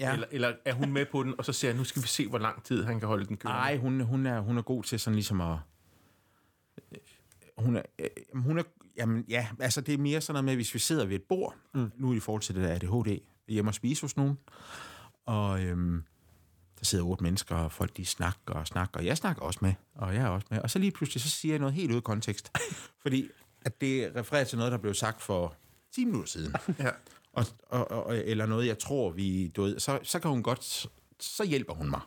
S3: Ja.
S1: Eller, eller er hun med på den, og så ser jeg, nu skal vi se, hvor lang tid han kan holde den kørende?
S3: Nej, hun, hun, er, hun er god til sådan ligesom at... Hun er, øh, hun er, jamen, ja, altså det er mere sådan noget med, hvis vi sidder ved et bord, mm. nu i forhold til det der ADHD, hjemme og spise hos nogen, og øhm, der sidder otte mennesker, og folk de snakker og snakker, og jeg snakker også med, og jeg er også med, og så lige pludselig, så siger jeg noget helt ude af kontekst, fordi at det refererer til noget, der blev sagt for 10 minutter siden
S1: Ja.
S3: og, og, og, eller noget, jeg tror, vi... Du ved, så, så kan hun godt... Så hjælper hun mig.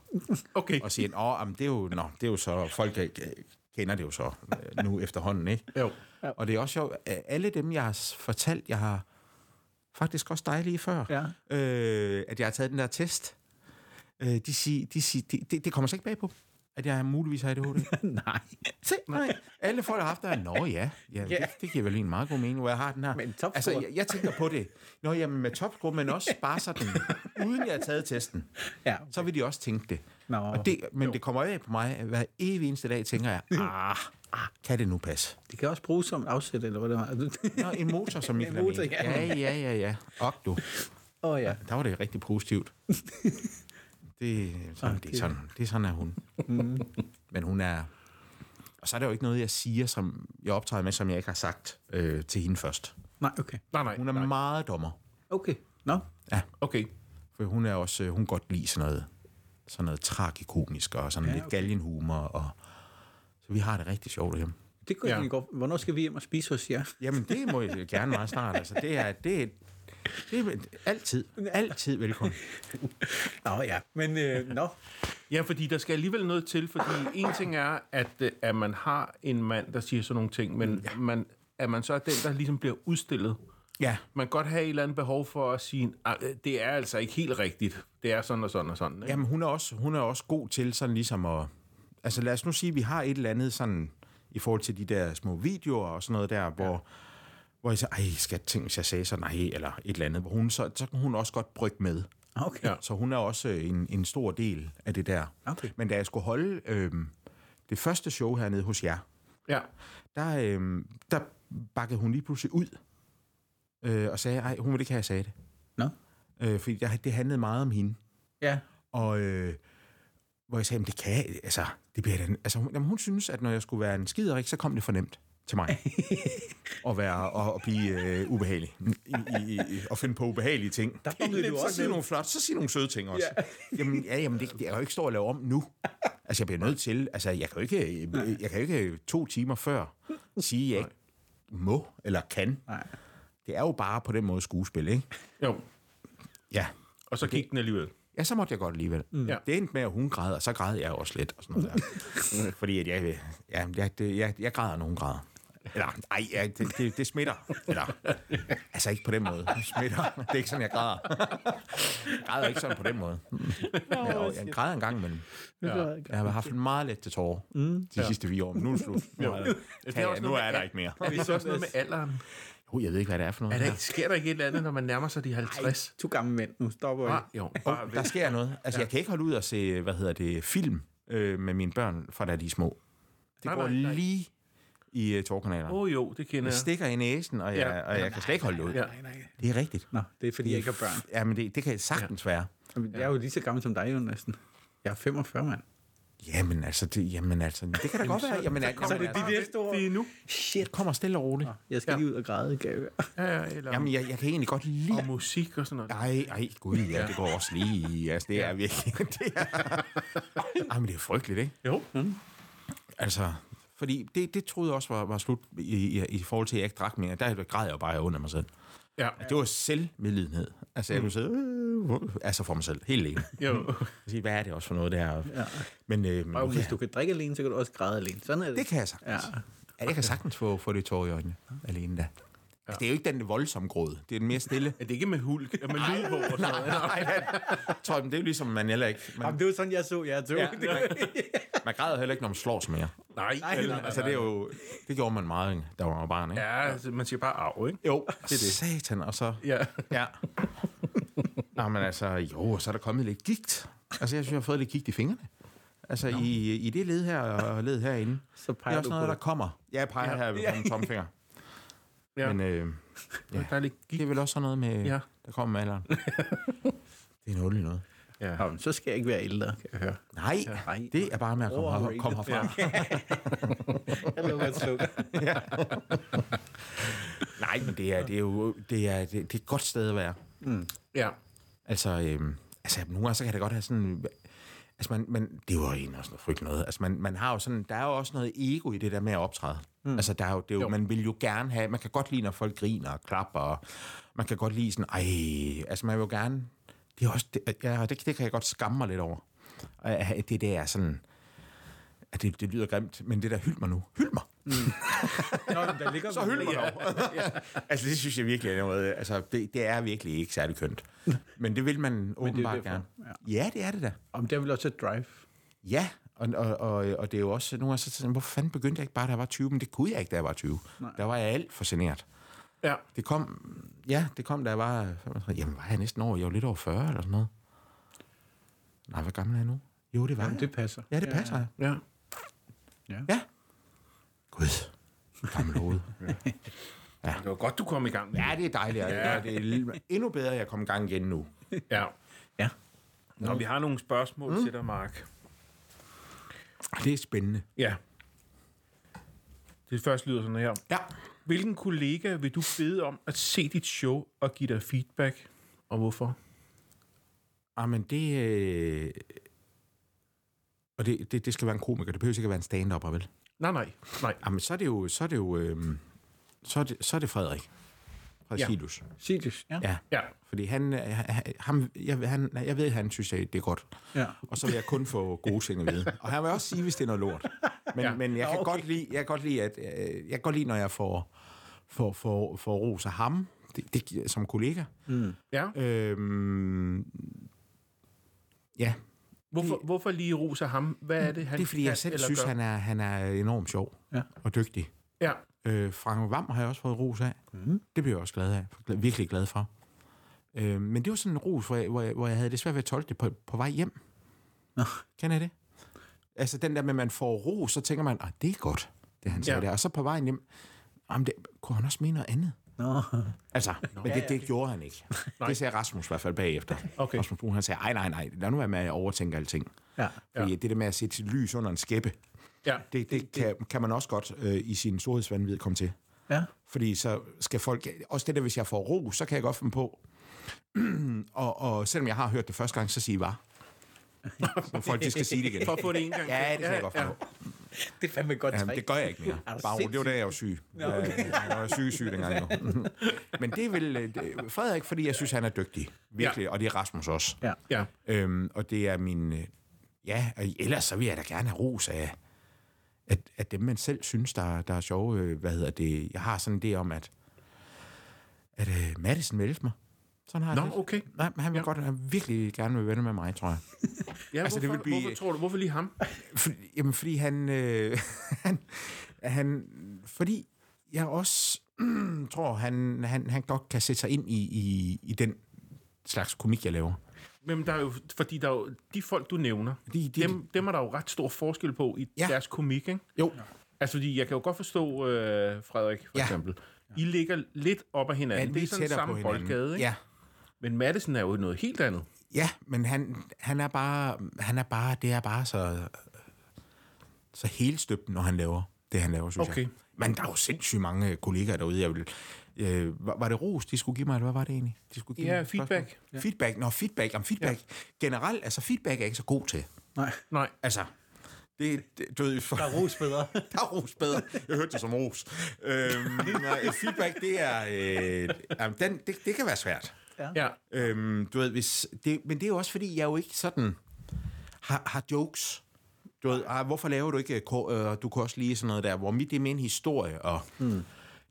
S1: Okay.
S3: *laughs* Og siger, åh, jamen, det, er jo, nå, det er jo så... Folk øh, kender det jo så øh, nu efterhånden, ikke?
S1: Jo.
S3: Og det er også sjovt, øh, alle dem, jeg har s- fortalt, jeg har faktisk også dig lige før,
S4: Ja.
S3: øh, at jeg har taget den der test, øh, de siger, de siger, de, det, det kommer så ikke bag på, at jeg muligvis har ADHD.
S4: *laughs* Nej.
S3: Se, nej. Alle folk har haft der, nå ja, ja yeah. det, det giver vel en meget god mening, hvor jeg har den her.
S4: Men topscore.
S3: altså, jeg, jeg tænker på det. Nå, jamen med topscore, men også bare sådan, uden jeg har taget testen,
S4: Ja.
S3: så vil de også tænke det.
S4: Nå.
S3: Og det men jo. det kommer jo af på mig, at hver evig eneste dag tænker jeg, ah, ah, kan det nu passe?
S4: Det kan også bruges som afsæt, eller hvad det var.
S3: Nå, en motor, som Michael
S4: En motor,
S3: har ment. Ja, ja, ja, ja. Og du,
S4: Åh oh, ja.
S3: der var det rigtig positivt. Det, er sådan, det, er sådan, det er sådan, er hun. Men hun er... Og så er der jo ikke noget, jeg siger, som jeg optræder med, som jeg ikke har sagt øh, til hende først.
S4: Nej, okay.
S1: Nej, nej.
S3: Hun er meget dommer.
S4: Okay. Nå.
S3: Ja,
S1: Okay.
S3: for hun er også... øh, Hun kan godt lide sådan noget, sådan noget tragikomisk og sådan ja, lidt galgenhumor. Og, så vi har det rigtig sjovt hjemme.
S4: Det kunne
S1: Ja.
S4: ja. jeg godt. Hvornår skal vi hjem og spise hos jer?
S3: Jamen, det må jeg gerne meget snart. Altså, det er... Det, er- det er altid, altid velkommen.
S4: Nå ja. Men øh, nå.
S1: Ja, fordi der skal alligevel noget til, fordi en ting er, at, øh, at man har en mand, der siger sådan nogle ting, men ja. man, at man så er den, der ligesom bliver udstillet.
S3: Ja,
S1: Man kan godt have et eller andet behov for at sige, "Ah, øh, det er altså ikke helt rigtigt. Det er sådan og sådan og sådan. Ikke?
S3: Jamen, hun er, også, hun er også god til sådan ligesom at... Altså, lad os nu sige, at vi har et eller andet sådan... I forhold til de der små videoer og sådan noget der, hvor... Hvor jeg siger, ej, skal tænke, hvis jeg sagde sådan, nej, eller et eller andet. Hvor hun, så, så kan hun også godt brygge med.
S4: Okay. Ja.
S3: Så hun er også øh, en, en stor del af det der.
S4: Okay.
S3: Men da jeg skulle holde øh, det første show hernede hos jer,
S1: Ja.
S3: der, øh, der bakkede hun lige pludselig ud øh, og sagde, ej, hun ville ikke have, at jeg sagde det.
S4: Nå.
S3: Øh, fordi der, det handlede meget om hende.
S4: Ja.
S3: Og øh, hvor jeg sagde, "Men det kan jeg- altså, det bliver den. Altså, hun, jamen, hun synes, at når jeg skulle være en skiderik, så kom det fornemt til
S4: *laughs*
S3: mig. at være, og, og blive øh, ubehagelig. I, i, i, og finde på ubehagelige ting.
S4: Der
S3: *laughs*
S4: bombede du
S3: så
S4: også
S3: sig
S4: ned.
S3: nogle flotte, så sig nogle søde ting også. *laughs* jamen, ja, jamen, det, jeg kan jo ikke stå og lave om nu. Altså, jeg bliver nødt til, altså, jeg kan jo ikke, øh, jeg kan jo ikke to timer før sige, at jeg ikke må eller kan.
S4: Nej.
S3: Det er jo bare på den måde skuespil, ikke?
S1: Jo.
S3: Ja.
S1: Og så gik den alligevel.
S3: Ja, så måtte jeg godt alligevel. Mm.
S1: Ja.
S3: Det endte med, at hun græd, og så græd jeg også lidt. Og sådan noget
S1: *laughs*
S3: der. Fordi at jeg, ja, jeg, det- jeg, jeg græder, når hun græder. Eller, ej, ja, det, det, det smitter. Eller, altså ikke på den måde. Det smitter. Det er ikke sådan, jeg græder. Jeg græder ikke sådan på den måde. Jeg, jeg græder en gang imellem.
S1: Ja.
S3: Jeg har haft meget let til tårer mm. de sidste fire år. Men nu er det slut. Nu er,
S1: Det
S3: kan jeg, nu er der ikke mere.
S1: Er det så også noget med alderen?
S3: Jo, jeg ved ikke, hvad det er for noget.
S1: Er der ikke, sker der ikke et eller andet, når man nærmer sig de 50?
S4: Du gamle mænd, nu stopper jeg.
S1: Ah, jo,
S3: Bare der sker noget. Altså, ja. jeg kan ikke holde ud og se, hvad hedder det, film øh, med mine børn, fra da de er små. Det
S1: Nej,
S3: nej, går
S1: nej, nej.
S3: lige i øh, tårkanalerne.
S1: Åh
S3: Oh,
S1: oh, jo, det kender
S3: jeg
S1: jeg.
S3: stikker i næsen, og jeg,
S1: Ja.
S3: og jeg kan slet ikke holde ud.
S1: Ja.
S4: Nej, nej.
S3: Det er rigtigt.
S4: Nå, det er fordi, jeg ikke har børn.
S3: Ja, men det, det kan sagtens ja. være.
S4: Jamen, Jeg er jo lige så gammel som dig, jo næsten. Jeg er 45, mand.
S3: Jamen altså, det, jamen, altså, det kan da godt være. Jamen, altså,
S4: Så
S3: det,
S4: er det de der store...
S1: Det er nu.
S4: Shit.
S3: kommer stille og roligt.
S4: Jeg skal
S1: Ja.
S4: lige ud og græde, *laughs* kan jeg høre.
S1: Ja, ja, eller
S3: Jamen, jeg, jeg kan egentlig godt lide...
S1: og musik og sådan noget.
S3: Ej, ej, gud, ja, det går også lige i. Altså, det er virkelig... *laughs* Det er, ej, men det er frygteligt, ikke?
S1: Jo.
S3: Altså, fordi det, det troede jeg også var, var slut i, i, i forhold til, at jeg ikke drak mere. Der græd jeg bare under mig selv.
S1: Ja,
S3: Det var selvmedlidenhed. Altså, jeg kunne sidde... Øh, uh, altså for mig selv, helt alene.
S1: jo.
S3: Jeg sige, hvad er det også for noget, det her? Ja. Men øh, men
S4: Og
S3: nu kan
S4: hvis
S3: jeg-
S4: du kan drikke alene, så kan du også græde alene. Sådan er det.
S3: det kan jeg sagtens.
S4: Ja.
S3: Ja, jeg kan sagtens få, få det tår i øjnene alene da. Altså, det er jo ikke den voldsomme gråd. Det er den mere stille.
S1: Er det ikke med hulk? Er man lyd på? Og sådan noget?
S3: Nej, men- Torben, det er jo ligesom, man heller ikke... Man,
S4: Jamen, det var sådan, jeg så jer to. Ja.
S3: man, man græder heller ikke, når man slår sig mere.
S1: Nej, nej, nej, nej.
S3: Altså, det, er jo, det gjorde man meget, da man var barn, ikke?
S1: Ja, altså, man siger bare arv, ikke?
S3: Jo, det er det. satan, og så...
S1: Ja.
S3: Ja. *laughs* Nå, men altså, jo, og så er der kommet lidt gigt. Altså, jeg synes, jeg har fået lidt gigt i fingrene. Altså, i, i det led her og led herinde.
S4: *laughs* Så
S3: Det er
S4: peger
S3: også
S4: du
S3: noget,
S4: på
S3: der kommer. Ja, jeg peger ja. her ved ja. tomfinger.
S1: Ja.
S3: *laughs* Ja. Men øh,
S1: Ja. Der er lidt
S3: det
S1: gik.
S3: er vel også sådan noget med,
S1: Ja.
S3: ja. der kommer med *laughs* alderen. det er noget noget.
S1: Ja.
S4: Nå, men så skal jeg ikke være ældre, kan jeg høre.
S3: Nej,
S4: Nej.
S3: ja. det er bare med at komme, her,
S4: Overrated.
S3: komme herfra.
S4: *laughs*
S3: Ja.
S4: Jeg lover at slukke.
S3: Nej, men det er, det er jo det er, det, det er et godt sted at være.
S1: ja.
S3: Altså, øh, altså nogle gange så kan det godt have sådan... Altså, man, man, det var egentlig også noget frygteligt noget. Altså, man, man har jo sådan, der er jo også noget ego i det der med at optræde. Mm. Altså, der er jo, det er jo, jo, man vil jo gerne have, man kan godt lide, når folk griner og klapper, og man kan godt lide sådan, ej, altså man vil jo gerne, det er også, det, ja, det, det kan jeg godt skamme mig lidt over. Og, at Det der er sådan, at det, det lyder grimt, men det der, hyld mig nu, hyld *laughs* mig.
S4: Nå, men der ligger
S3: Så hyld mig dog. altså, det synes jeg virkelig er noget. Altså, det, det er virkelig ikke særlig *laughs* kønt. Men det vil man åbenbart
S4: derfor.
S3: gerne. Ja. ja, det er det da.
S4: Om det er vel også et drive.
S3: Ja, og, og, og, og det er jo også nogle gange så sådan, hvorfor fanden begyndte jeg ikke bare, da jeg var 20? Men det kunne jeg ikke, da jeg var 20. Nej. Der var jeg alt for generet.
S1: Ja.
S3: Det kom, ja, det kom, da jeg var, 35. jamen var jeg næsten over, jeg var lidt over 40 eller sådan noget. Nej, hvor gammel er jeg nu? Jo, det var
S4: Jamen,
S3: jeg.
S4: det passer.
S3: Ja, det passer jeg.
S1: Ja.
S3: Ja. Gud, gammel *laughs* hoved.
S1: Det var godt, du kom i gang med
S3: Ja, det er dejligt. Ja. Det er endnu bedre, at jeg kom i gang igen nu.
S1: det. Ja.
S4: Ja.
S1: Nå, vi har nogle spørgsmål mm. til dig, Mark.
S3: Ah, Det er spændende.
S1: Ja. Det første lyder sådan her.
S3: Ja.
S1: Hvilken kollega vil du bede om at se dit show og give dig feedback? Og hvorfor?
S3: Jamen, Ah, det... Øh... Og det, det, det, skal være en komiker. Det behøver ikke at være en stand-upper, vel?
S1: Nej, nej, nej.
S3: Jamen, så er det jo... Så er det, jo, øh... så er det, så er det Frederik fra
S1: Ja.
S3: ja. Silus.
S4: Sirius, ja.
S3: Ja.
S1: Ja,
S3: Fordi han, øh, han- ham, jeg, han, jeg ved, han synes, at det er godt.
S4: Ja.
S3: Og så vil jeg kun få gode ting at vide. Og han vil også sige, hvis det er noget lort. Men,
S1: Ja.
S3: ja. men jeg, kan okay. godt lide, jeg kan godt lide, at øh, jeg kan godt lide, når jeg får, får, får, får ros af ham det, det, gi- som kollega.
S4: Mm.
S1: ja.
S3: Øhm, ja,
S1: Hvorfor, hvorfor lige rose ham? Hvad er det, han
S3: det er fordi,
S1: kan
S3: jeg selv
S1: eller
S3: synes,
S1: gør?
S3: han er, han er enormt sjov
S4: Ja.
S3: og dygtig.
S1: Ja,
S3: Øh, Frank Vam har jeg også fået ros af. Mm. Det blev jeg også glad af. Gla- Virkelig glad for. Øh, men det var sådan en ros, hvor jeg, hvor jeg, hvor jeg havde det svært ved at tolke det på, på vej hjem.
S4: Nå.
S3: Kan jeg det? Altså den der med, at man får ros, så tænker man, at det er godt, det han sagde
S1: Ja.
S3: ja. der. Og så på vejen hjem, jamen det, kunne han også mene noget andet?
S4: Nå.
S3: Altså, Nå, men det, det gjorde han ikke. det sagde Rasmus i hvert fald bagefter.
S1: Okay.
S3: Rasmus Brun, han sagde, nej, nej, nej, lad nu være med at overtænke alting.
S4: Ja.
S3: Fordi ja. det der med at sætte lys under en skæppe,
S1: ja.
S3: det, det, det kan, kan man også godt øh, i sin storhedsvandvid komme til.
S4: Ja.
S3: Fordi så skal folk... Også det der, hvis jeg får ro, så kan jeg godt finde på... *clears throat* og, og selvom jeg har hørt det første gang, så sige var. Så folk de skal sige det igen.
S1: For at få det en gang.
S3: Ja, det kan jeg godt finde på.
S4: Det er fandme et godt
S3: Jamen,
S4: træk.
S3: det gør jeg ikke mere.
S4: du
S3: Bare roligt. Det var
S4: sindssyg?
S3: da, jeg var syg. Ja, Jeg var syg, syg dengang. Jo. *laughs* Men det er vel øh, det- Frederik, fordi jeg synes, han er dygtig. Virkelig. Og det er Rasmus også.
S4: Ja.
S1: Ja,
S3: Øhm, og det er min... øh, Ja, og ellers så vil jeg da gerne have ros af, at, at dem, man selv synes, der, der er sjove. øh, Hvad hedder det? Jeg har sådan det om, at, at uh, Madison vil elske mig. Sådan har jeg
S1: nå,
S3: det.
S1: okay.
S3: Nej, men han vil
S1: Ja.
S3: ja. godt han virkelig gerne vil være venner med mig, tror jeg.
S1: Ja, altså, hvorfor,
S3: Altså, det
S1: det
S3: vil blive-
S1: hvorfor tror du, hvorfor lige ham?
S3: *laughs* Fordi, jamen, fordi han... Øh, han, han fordi jeg også *clears throat* tror, han, han, han godt kan sætte sig ind i, i, i den slags komik, jeg laver.
S1: Men der er jo, fordi der er jo, de folk, du nævner,
S3: De- de-
S1: dem, dem er der jo ret stor forskel på i
S3: Ja.
S1: ja. deres komik, ikke?
S3: Jo,
S1: Altså, fordi jeg kan jo godt forstå øh, Frederik, for
S3: Ja.
S1: ja. eksempel. I ligger lidt op ad hinanden.
S3: men
S1: det
S3: vi
S1: er
S3: er
S1: sådan
S3: tættere på
S1: samme
S3: hinanden.
S1: boldgade, ikke?
S3: Ja,
S1: Men Madison er jo noget helt andet.
S3: ja men han, han, er bare, han er bare, det er bare så, så helstøbt, når han laver det, han laver, synes
S1: Okay.
S3: jeg. Men der er jo sindssygt mange kollegaer derude, jeg vil... Øh, var, var det ros, de skulle give mig, eller hvad var det egentlig? De skulle give
S1: Ja,
S3: mig et spørgsmål?
S1: feedback.
S3: Ja. Feedback, nå, feedback. Jamen, feedback. Ja. Generelt, altså feedback er jeg ikke så god til.
S4: Nej,
S1: Nej.
S3: Altså, det, det du ved, for,
S4: der er ros bedre.
S3: Der er ros bedre. Jeg hørte det som ros. Øhm, nej, feedback, det er... Øh, jamen, den, det, det kan være svært.
S1: Ja.
S3: Øhm, du ved, hvis det, men det er jo også, fordi jeg jo ikke sådan har, har jokes. Du ved, ah, hvorfor laver du ikke... øh, ko- Øh, du kan også lige sådan noget der, hvor mit det er med en historie, og... Hmm.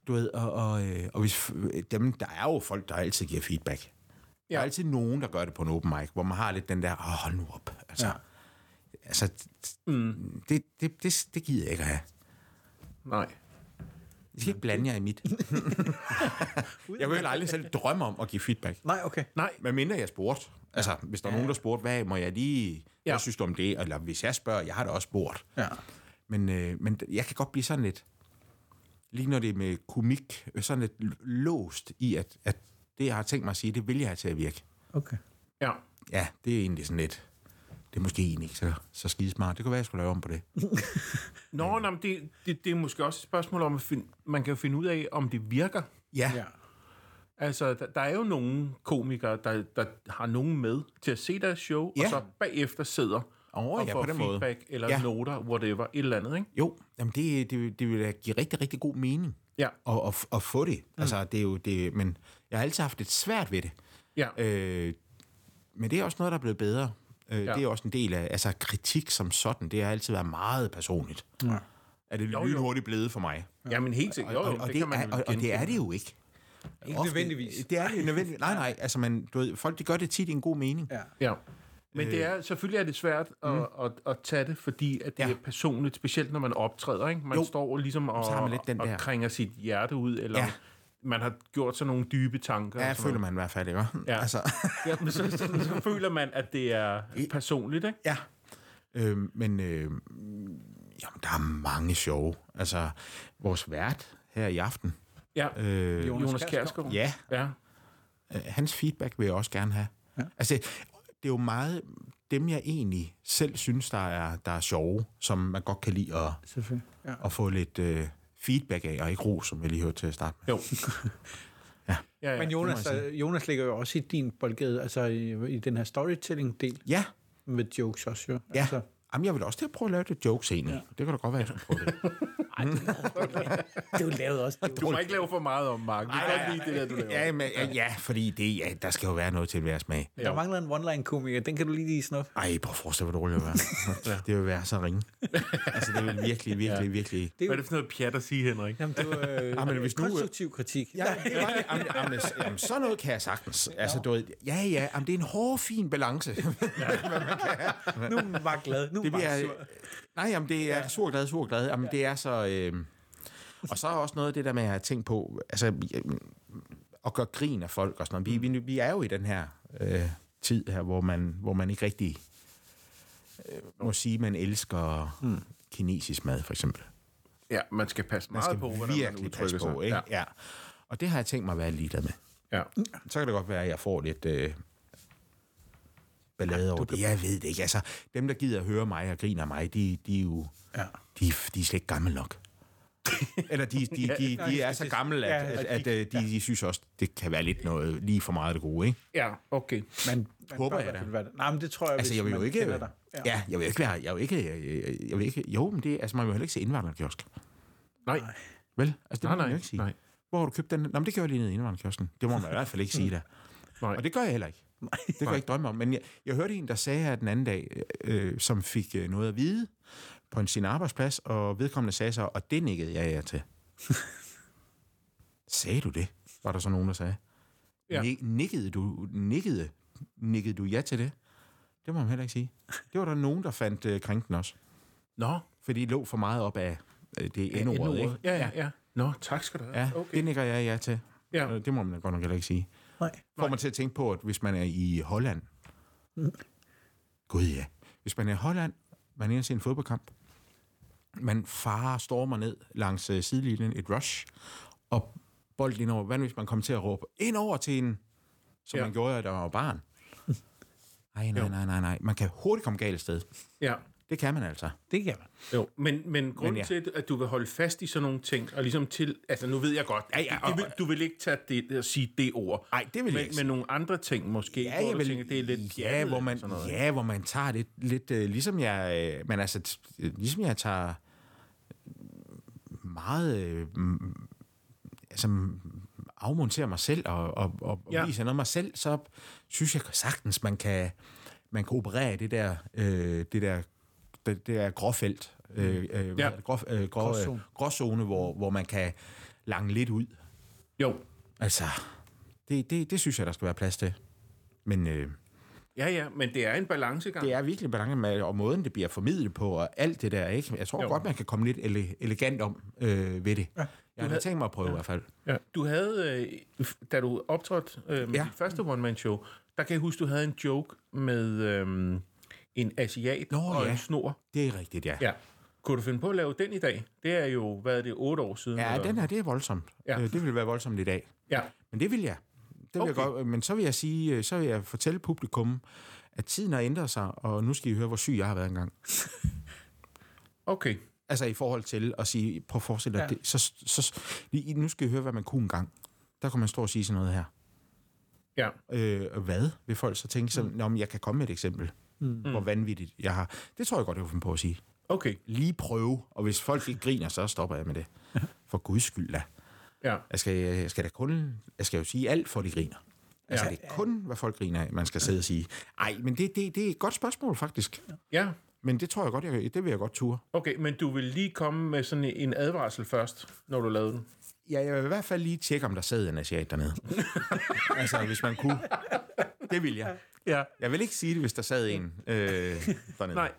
S3: Du ved, og, og, øh, og hvis øh, dem, der er jo folk, der altid giver feedback. Ja. Der er
S1: Ja.
S3: altid nogen, der gør det på en open mic, hvor man har lidt den der, åh, oh, hold nu op. Altså, ja. altså mm. det, det, det, det gider jeg ikke at have.
S1: Nej.
S3: I skal ikke blande jer i *laughs* mit. jeg vil aldrig selv drømme om at give feedback.
S4: Nej, okay.
S1: Nej.
S3: Hvad mindre jeg spurgte. Altså, hvis der er nogen, der spurgte, hvad må jeg lige... Ja.
S1: Ja.
S3: Hvad synes du om det? Eller hvis jeg spørger, jeg har da også spurgt.
S4: Ja.
S3: Men, øh, men jeg kan godt blive sådan lidt... Lige når det er med komik, øh, sådan lidt l- låst i, at, at det, jeg har tænkt mig at sige, det vil jeg have til at virke.
S4: Okay.
S1: Ja.
S3: Ja, det er egentlig sådan lidt... Det er måske egentlig ikke så, så skidesmart. Det kunne være, jeg skulle lave om på det.
S1: Nå, nå men det, det, det er måske også et spørgsmål om, at find, man kan jo finde ud af, om det virker.
S3: Ja, ja.
S4: Ja.
S1: Altså, der, der er jo nogle komikere, der, der har nogen med til at se deres show,
S3: Ja.
S1: og så bagefter sidder
S3: Åh,
S1: og
S3: ja,
S1: får
S3: på den måde.
S1: feedback eller
S3: Ja.
S1: noter, whatever, et eller andet, ikke?
S3: jo, jamen det, det, det vil da give rigtig, rigtig god mening.
S1: Ja,
S3: og, og, og få det. Mm. Altså, det er jo det, men jeg har altid haft lidt svært ved det.
S1: ja,
S3: Øh, men det er også noget, der er blevet bedre. Øh, ja.
S1: Ja.
S3: Det er også en del af, altså kritik som sådan, det har altid været meget personligt.
S4: Ja.
S3: Er det
S1: jo.
S3: lynhurtigt blevet for mig?
S1: ja men helt sikkert. Jo, jo,
S3: og,
S1: det,
S3: og,
S1: kan man
S3: er,
S1: vel
S3: og, og det er
S1: genkende.
S3: det jo ikke.
S4: Ikke nødvendigvis.
S3: Det er det jo nødvendigvis. Nej, nej, altså man, du ved, folk de gør det tit i en god mening.
S4: Ja.
S1: Ja. Men
S3: Øh.
S1: det er, selvfølgelig er det svært at, mm. at, at, at tage det, fordi at det
S3: Ja.
S1: ja. er personligt, specielt når man optræder. Ikke? Man
S3: Jo.
S1: jo. står ligesom og,
S3: Så har man lidt den
S1: og
S3: der.
S1: kringer sit hjerte ud, eller
S3: Ja.
S1: ja. man har gjort sig nogle dybe tanker.
S3: Ja,
S1: og
S3: jeg
S1: sådan
S3: føler man i hvert fald, ikke?
S1: Ja.
S3: *laughs* Altså,
S1: noget. Ja, men så, så, så føler man, at det er personligt. Ikke?
S3: ja. Øh, men øh, jamen, der er mange sjove. Altså, vores vært her i aften,
S1: Ja.
S3: øh,
S1: Jonas, Jonas Kjærsgaard.
S3: ja,
S1: ja.
S3: Øh, hans feedback vil jeg også gerne have. Ja. Altså, det er jo meget dem, jeg egentlig selv synes, der er, der er sjove, som man godt kan lide at,
S4: Selvfølgelig. Ja.
S3: at få lidt øh, feedback af, og ikke ros, som vi lige hørte til at starte med. *laughs*
S1: Jo. ja. ja,
S4: Men
S1: ja.
S4: Jonas, øh, Jonas ligger jo også i din boldgade, altså i, i den her storytelling-del
S3: Ja,
S4: med jokes også, jo.
S3: ja.
S4: Altså,
S3: Altså. Jamen, jeg vil også til at prøve at lave det jokes egentlig. Ja. Det kan da godt være, jeg skal prøve det.
S4: *laughs* det er jo lavet også. Det er
S1: Du må ikke lave for meget om, Mark. Vi kan godt lide det der, du laver.
S3: *laughs* ja, men, ja, ja, fordi det, ja, der skal jo være noget til hver smag.
S4: jo- der mangler en one-line-komiker, den kan du lige lige snuppe.
S3: Ej, prøv at forestille, hvor dårligt det vil være. Det vil være så ringe. Altså, det vil virkelig, virkelig, virkelig...
S1: Hvad er det for noget pjat at sige, Henrik?
S4: Jamen, det er jo øh,
S3: men hvis nu, øh,
S4: konstruktiv kritik.
S3: Ja, det var det. Jamen, jamen, jamen, sådan noget kan jeg sagtens. Altså, du ved, ja, ja, jamen, det er en hård, fin balance. *laughs*
S4: Nu er Mark glad. Nu er
S3: Det
S4: Mark
S3: bliver,
S4: sur.
S3: nej, jamen, det er sur glad, sur glad. Jamen, det er så... Øh, og så er også noget af det der med, at jeg har tænkt på, altså, øh, at gøre grin af folk og sådan noget. Vi, vi, vi er jo i den her øh, tid her, hvor man, hvor man ikke rigtig øh, må sige, man elsker hmm. kinesisk mad, for eksempel.
S1: Ja, man skal passe meget på, hvordan man
S3: Virkelig
S1: udtrykker
S3: passe
S1: sig.
S3: på, ikke?
S1: Ja.
S3: Ja. Og det har jeg tænkt mig at være ligeglad med.
S1: Ja.
S3: så kan det godt være, at jeg får lidt øh, ballade over det. Jeg ved det ikke. Altså, dem, der gider at høre mig og griner af mig, de, de er jo ja. de, er- de er slet ikke
S4: *laughs*
S3: gamle nok. Eller de, de, de, de er så gamle, at,
S4: Ja,
S3: at,
S4: og
S3: at, øh, de, de synes også, det kan være lidt noget lige for meget af det gode, ikke?
S1: ja, okay.
S4: Man, man
S3: Håber
S4: bør
S3: jeg
S4: i hvert
S3: da.
S4: fald være det. Nej, men det tror jeg,
S3: Altså,
S4: hvis
S3: jeg vil
S4: man
S3: jo ikke...
S4: kender dig.
S3: Ja. ja, jeg vil ikke være... Jeg vil ikke... Jeg, jeg vil ikke jo, men det... Altså, man vil jo heller ikke se indvandrerkiosk.
S1: Nej,
S3: Vel? Altså, det
S1: nej,
S3: må man
S1: nej.
S3: jo ikke sige.
S1: nej.
S3: Hvor har du købt den? Nå, men det gør jeg lige nede i indvandrerkiosken. Det må man i hvert fald ikke sige der.
S1: *laughs* Nej.
S3: Og det gør jeg heller ikke. Det kan jeg ikke drømme om. Men jeg, jeg hørte en, der sagde her den anden dag, øh, som fik øh, noget at vide på en, sin arbejdsplads, og vedkommende sagde så, og det nikkede jeg jer til. *laughs* sagde du det? Var der så nogen, der sagde.
S1: Ja.
S3: Ni- nikkede du, nikkede, nikkede du ja til det? Det må man heller ikke sige. Det var der nogen, der fandt øh, krænken også.
S1: Nå,
S3: Fordi det lå for meget op af øh, det ja,
S1: endnu
S3: endordet, ikke?
S1: Ja, ja, ja. Nå, tak skal du have.
S3: Ja, okay.
S1: okay.
S3: det nikker jeg ja til.
S1: Ja.
S3: Øh, Det må man godt nok heller ikke sige.
S4: Nej.
S3: Får man til at tænke på, at hvis man er i Holland... Gud ja. Hvis man er i Holland, man er inde til en fodboldkamp, man farer stormer ned langs øh, sidelinjen et rush, og bolden ind over. Hvad nu, hvis man kommer til at råbe ind over til en, som
S1: Ja.
S3: ja. man gjorde, da man var barn? Ej, nej, nej, nej, nej. Man kan hurtigt komme galt afsted.
S1: ja.
S3: Det kan man altså.
S2: Det kan man.
S1: Jo, men, men grunden men,
S3: Men
S1: ja.
S3: ja.
S1: til, at du vil holde fast i sådan nogle ting, og ligesom til, altså nu ved jeg godt, ja, ja, og, det vil, du vil ikke tage det, og sige det ord.
S3: Nej, det vil jeg
S1: men,
S3: ikke.
S1: men nogle andre ting måske,
S3: Ja,
S1: hvor
S3: jeg
S1: du
S3: vil,
S1: tænker, det er lidt...
S3: ja,
S1: pjattet
S3: hvor
S1: eller
S3: man,
S1: sådan noget.
S3: ja, hvor man tager lidt, lidt øh, ligesom jeg, øh, men altså, t- øh, ligesom jeg tager øh, meget, øh, mm, altså mm, afmonterer mig selv og, og, og,
S1: Ja.
S3: ja. og viser noget af mig selv, så synes jeg sagtens, man kan, man kan operere i det der, øh, det der, det, det der gråfelt, øh, øh, hvad
S1: Mm. Ja.
S3: hedder det? grå, øh, grå, gråzone,
S4: Gråzone.
S3: gråzone hvor, hvor man kan lange lidt ud.
S1: Jo,
S3: Altså, det, det, det synes jeg, der skal være plads til. Men øh,
S1: ja, ja, men det er en balancegang.
S3: det er virkelig balance med, og måden, det bliver formidlet på, og alt det der, ikke? Jeg tror
S1: Jo.
S3: jo. godt, man kan komme lidt ele- elegant om øh, ved det. Ja. Jeg har havde... tænkt mig at prøve ja. i hvert fald.
S1: Ja. Du havde, øh, f- da du optrådte øh, med ja.
S3: Ja.
S1: dit første one-man-show, der kan jeg huske, du havde en joke med øh, en asiat
S3: Nå,
S1: og
S3: ja.
S1: en snor.
S3: Det er rigtigt, ja.
S1: Ja. Kunne du finde på at lave den i dag? Det er jo, hvad er det, otte år siden?
S3: Ja,
S1: eller-
S3: den her, det er voldsomt.
S1: Ja.
S3: Ja. Øh, det vil være voldsomt i dag.
S1: Ja,
S3: Men det vil jeg. Det vil okay.
S1: Okay.
S3: jeg godt, men så vil jeg sige, øh, så vil jeg fortælle publikum, at tiden har ændret sig, og nu skal I høre, hvor syg jeg har været engang.
S1: okay.
S3: Altså i forhold til at sige, prøv at forestille dig,
S4: Ja.
S3: ja. det, så, så, lige- nu skal I høre, hvad man kunne engang. Der kunne man stå og sige sådan noget her.
S1: Ja,
S3: øh, og hvad vil folk så tænke? Så, mm. Nå, men jeg kan komme med et eksempel, mm. hvor vanvittigt jeg har. Det tror jeg godt, jeg kunne finde på at sige.
S1: okay.
S3: Lige prøve, og hvis folk ikke griner, så
S1: *laughs*
S3: stopper jeg med det. For guds skyld da.
S1: Ja,
S3: Jeg skal, jeg skal da kun, jeg skal jo sige alt, for de griner. Altså,
S1: Ja.
S3: ja. det er kun, hvad folk griner af, man skal sidde og sige. Ej, men det, det, det er et godt spørgsmål, faktisk.
S1: ja.
S3: Men det tror jeg godt, jeg, det vil jeg godt ture.
S1: Okay, men du vil lige komme med sådan en advarsel først, når du lavede den.
S3: Ja, jeg vil i hvert fald lige tjekke, om der sad en
S1: *laughs*
S3: asiat dernede. altså, hvis man kunne. Det vil jeg.
S1: Ja.
S3: Jeg vil ikke sige det, hvis der sad en øh, dernede.
S1: Nej, nej.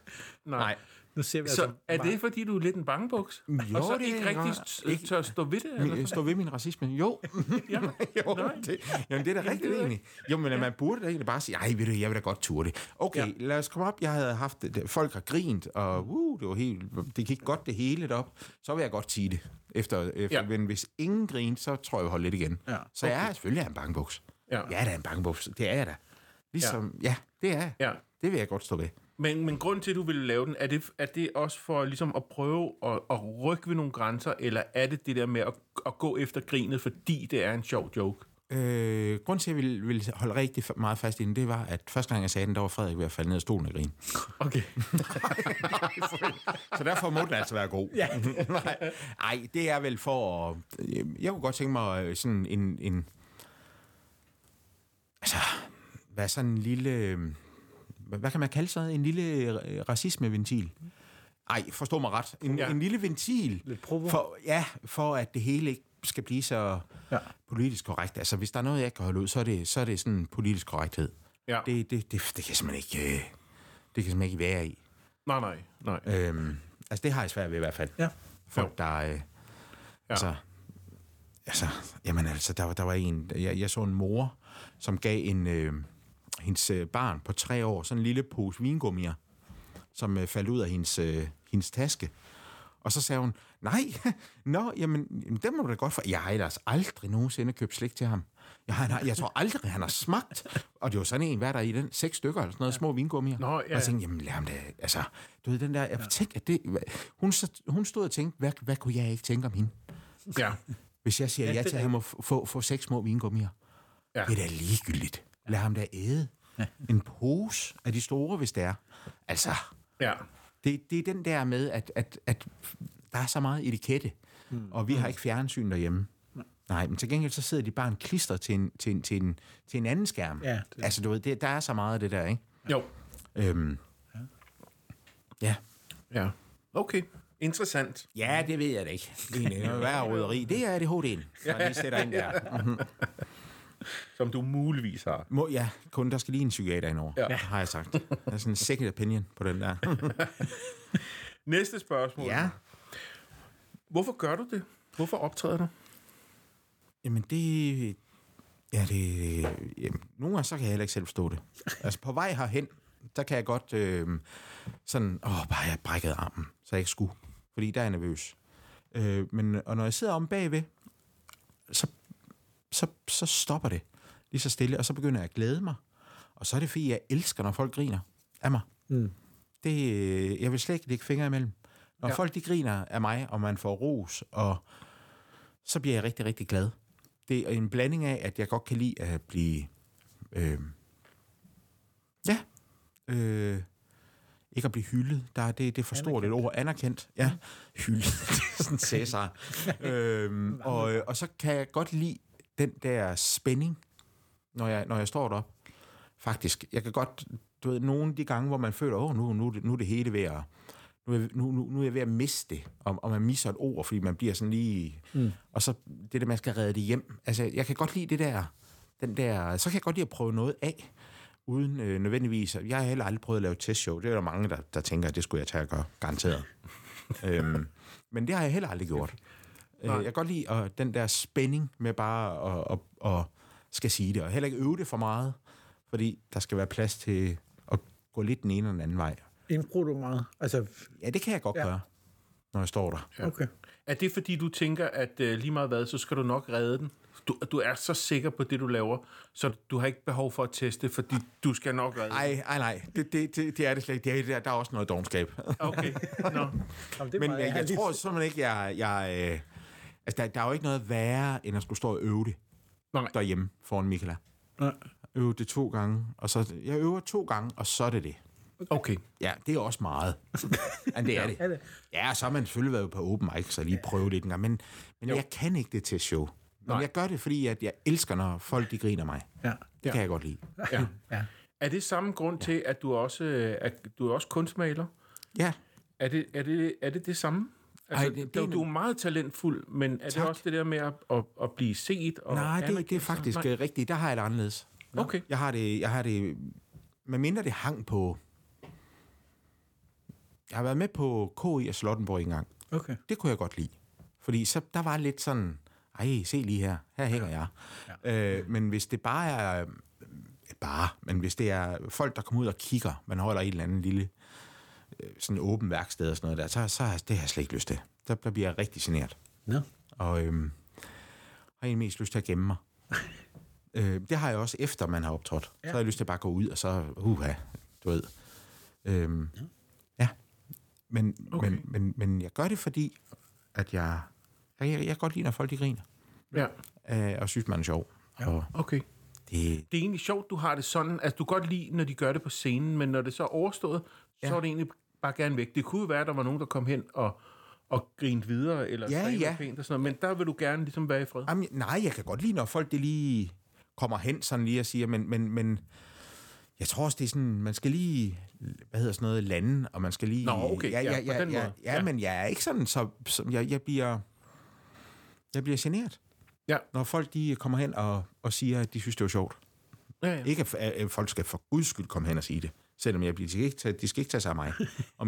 S1: nej.
S3: Nej.
S4: Nu ser vi
S1: Så
S4: altså...
S1: er det, fordi du er lidt en bangebuks? Jo, og så
S3: det
S1: ikke
S3: er jeg
S1: rigtig
S3: godt.
S1: s- tør stå ved det? Eller?
S3: Min, stå ved min racisme. Jo. ja. *laughs* jo det, jamen, det er da rigtigt egentlig. Jo, men man burde da egentlig bare sige, ej, ved du, jeg vil da godt ture det. Okay, ja. lad os komme op. Jeg havde haft, det. folk har grint, og uh, det var helt, det gik godt det hele op. Så vil jeg godt sige det. Efter, efter,
S1: Ja.
S3: ja. Men hvis ingen grinte, så tror jeg, jeg holder lidt igen.
S4: Ja,
S3: Så jeg er selvfølgelig er jeg en bankbuks.
S1: Ja.
S3: Jeg er da en bankbuks. Det er jeg da. Ligesom, ja, ja det er jeg.
S1: Ja.
S3: Det vil jeg godt stå ved.
S1: Men, men grund til, at du ville lave den, er det, er det også for ligesom at prøve at, at rykke ved nogle grænser, eller er det det der med at, at gå efter grinet, fordi det er en sjov joke?
S3: Øh, grunden til, at jeg ville, ville holde rigtig fa- meget fast i den, det var, at første gang jeg sagde den, der var Frederik ved at falde ned af stolen og grine.
S1: Okay.
S3: Så derfor må den altså være god. Ja. *laughs* Nej, ej, det er vel for... at- Jeg kunne godt tænke mig øh, sådan en... en altså, hvad er sådan en lille... øh, Hvad hvad kan man kalde sådan en lille øh, racismeventil? Ej, forstå mig ret. En,
S1: Ja.
S3: ja. en lille ventil.
S4: Lidt provo.
S3: For, ja, for at det hele ikke skal blive så
S4: Ja.
S3: ja. politisk korrekt. Altså, hvis der er noget, jeg ikke kan holde ud, så er det, så er det sådan politisk korrekthed.
S1: Ja. Det...
S3: Det, det, det, det kan jeg simpelthen ikke... øh, Det kan jeg simpelthen ikke være i.
S1: Nej, nej, nej.
S3: Øhm, altså, det har jeg svært ved i hvert fald.
S4: Ja.
S3: Folk, der... Øh, ja. Altså, altså, jamen altså, der, var- der var en... Jeg, jeg så en mor, som gav en... Øh, hendes øh, barn på tre år, sådan en lille pose vingummier, som øh, faldt ud af hendes, øh, hendes taske. Og så sagde hun, nej, *laughs* nå, jamen, jamen, den må du da godt for. Jeg har ellers aldrig nogensinde købt slik til ham. Jeg, har, jeg tror aldrig, han har smagt. Og det var sådan en, hvad er der i den? Seks stykker eller sådan noget, små vingummier.
S1: Nå, ja,
S3: Og jeg
S1: ja.
S3: tænkte, jamen lad ham da, altså, du ved den der, jeg tænkte, at det, hvad- hun, så, hun stod og tænkte, hvad, hvad kunne jeg ikke tænke om hende?
S1: Ja.
S3: Hvis jeg siger ja,
S4: det
S3: ja
S4: er
S3: til, at han må f- få, få seks små vingummier.
S1: Ja.
S3: Ja. Det er da ligegyldigt. Lad ham da æde. En pose af de store, hvis det er. Altså,
S1: Ja.
S3: det, det er den der med, at, at, at der er så meget etikette, mm. og vi har ikke fjernsyn derhjemme. Nej, men til gengæld så sidder de bare en klister til en, til en, til en, til en anden skærm.
S4: Ja,
S3: det. Altså, du ved, det, der er så meget af det der, ikke?
S1: Jo.
S3: Øhm, ja.
S1: Ja. Okay. Interessant.
S3: ja, det ved jeg da ikke. Det er en- *laughs* Hvad er roderi? Det er ADHD'en, så jeg lige sætter ind der.
S1: Som du muligvis har.
S3: Må, ja, kun der skal lige en psykiater indover, ja. har jeg sagt. Der er sådan en second opinion på den der.
S1: Næste spørgsmål.
S3: ja.
S1: Hvorfor gør du det? Hvorfor optræder du?
S3: Jamen det... Ja, det... Jamen, nogle gange, så kan jeg heller ikke selv forstå det. Altså på vej herhen, der kan jeg godt øh, sådan... Åh, bare jeg brækkede armen, så jeg ikke skulle. Fordi der er jeg nervøs. Øh, men, og når jeg sidder om bagved, så, så, så stopper det lige så stille, og så begynder jeg at glæde mig. Og så er det, fordi jeg elsker, når folk griner af mig.
S4: Mm.
S3: Det, øh, jeg vil slet ikke lægge fingre imellem. Når ja. folk de griner af mig, og man får ros, og så bliver jeg rigtig, rigtig glad. Det er en blanding af, at jeg godt kan lide at blive... Øh, ja. Øh, ikke at blive hyldet. Der er det, det er for stort et ord. Anerkendt. Ja. *laughs* Hyldet. det er sådan Cæsar. øhm, og, øh, og så kan jeg godt lide den der spænding, når jeg, når jeg står derop. Faktisk. Jeg kan godt... Du ved, nogle af de gange, hvor man føler, åh, nu, nu, er det- nu er det hele ved at... Nu er, nu, nu, nu er jeg ved at miste det, og, og man misser et ord, fordi man bliver sådan lige... Mm. Og så det der, man skal redde det hjem. Altså, jeg kan godt lide det der, den der... Så kan jeg godt lide at prøve noget af, uden øh, nødvendigvis... Jeg har heller aldrig prøvet at lave et testshow. Det er der mange, der, der tænker, at det skulle jeg tage og gøre, garanteret. øhm, men det har jeg heller aldrig gjort. Øh, jeg kan godt lide og den der spænding med bare at, at, at, at skal sige det, og heller ikke øve det for meget, fordi der skal være plads til at gå lidt den ene og den anden vej.
S4: Impro du meget? Altså,
S3: Ja, det kan jeg godt ja.
S4: Ja.
S3: gøre, når jeg står der.
S4: okay.
S1: Er det, fordi du tænker, at øh, lige meget hvad, så skal du nok redde den? Du, du er så sikker på det, du laver, så du har ikke behov for at teste, fordi du skal nok redde den.
S3: Nej, nej, nej. Det, det, det, det er det slet ikke. Det er, der er også noget dogenskab.
S1: Okay, nå.
S4: Jamen, det er
S3: Men
S4: meget
S3: jeg, jeg
S4: ærligt.
S3: tror simpelthen ikke, jeg... jeg øh, altså, der, der er jo ikke noget værre, end at skulle stå og øve det
S1: Nej.
S3: derhjemme foran Michaela.
S4: Nej.
S3: Øve det to gange, og så... Jeg øver to gange, og så er det det.
S1: Okay.
S3: Ja, det er også meget. *laughs* Men det er
S4: Er
S3: det.
S4: det?
S3: Ja, så har man selvfølgelig været på open mic, så lige prøve det en gang. Men, men jeg kan ikke det til show. Men
S1: Nej.
S3: jeg gør det, fordi at jeg elsker, når folk de griner mig.
S4: Ja.
S3: Det kan jeg godt lide.
S1: Ja.
S4: Ja.
S1: Er det samme grund til, at du også øh, at du er også kunstmaler?
S3: Ja,
S1: Er det er det, er det, det samme? Altså,
S3: Ej,
S1: Ej,
S3: det- det
S1: det,
S3: er
S1: du,
S3: en-
S1: du er meget talentfuld, men er
S3: Tak.
S1: det også det der med at, at, at blive set? Og
S3: nej, det, det er
S1: anerkendt?
S3: faktisk
S1: Nej.
S3: Nej. rigtigt. Der har jeg det anderledes.
S1: Okay.
S3: Jeg har det, jeg har det, med mindre det hang på... Jeg har været med på KI og Slottenborg en gang.
S4: Okay.
S3: Det kunne jeg godt lide. Fordi så, der var lidt sådan, ej, se lige her, her hænger jeg. Ja. Øh, men hvis det bare er, øh, bare, men hvis det er folk, der kommer ud og kigger, man holder et eller andet lille øh, sådan åben værksted og sådan noget der, så, så har jeg- det har jeg slet ikke lyst til. Der, der bliver jeg rigtig generet.
S4: Nå.
S3: Og øhm, har egentlig mest lyst til at gemme *laughs* mig. øh, det har jeg også efter, man har optrådt. Ja. Så har jeg lyst til at bare gå ud, og så, uha, du ved. Øhm, ja. ja. Men, okay. men, men, men jeg gør det, fordi at jeg, jeg, jeg kan godt lide, når folk de griner,
S1: Ja,
S3: øh, og synes, man er sjov. Ja. Og
S1: okay.
S3: det,
S1: Det er egentlig sjovt, du har det sådan, at du kan godt lide, når de gør det på scenen, men når det så er overstået, ja. så er det egentlig bare gerne væk. Det kunne jo være, at der var nogen, der kom hen og, og grinede videre, eller
S3: Ja,
S1: sagde
S3: ja.
S1: noget pænt og sådan noget, men der vil du gerne ligesom være i fred.
S3: Jamen, nej, jeg kan godt lide, når folk det lige kommer hen sådan lige og siger, men, men, men jeg tror også, det er sådan, man skal lige, hvad hedder sådan noget, lande, og man skal lige...
S1: Nå, okay, ja,
S3: ja,
S1: på den
S3: ja,
S1: måde.
S3: ja, ja,
S1: Ja.
S3: men jeg er ikke sådan, så, så jeg, jeg bliver... Jeg bliver generet,
S1: Ja,
S3: når folk de kommer hen og, og siger, at de synes, det var sjovt.
S1: ja, ja.
S3: Ikke at, at folk skal for guds skyld komme hen og sige det, selvom jeg bliver, de, skal ikke tage, de skal ikke tage sig af mig og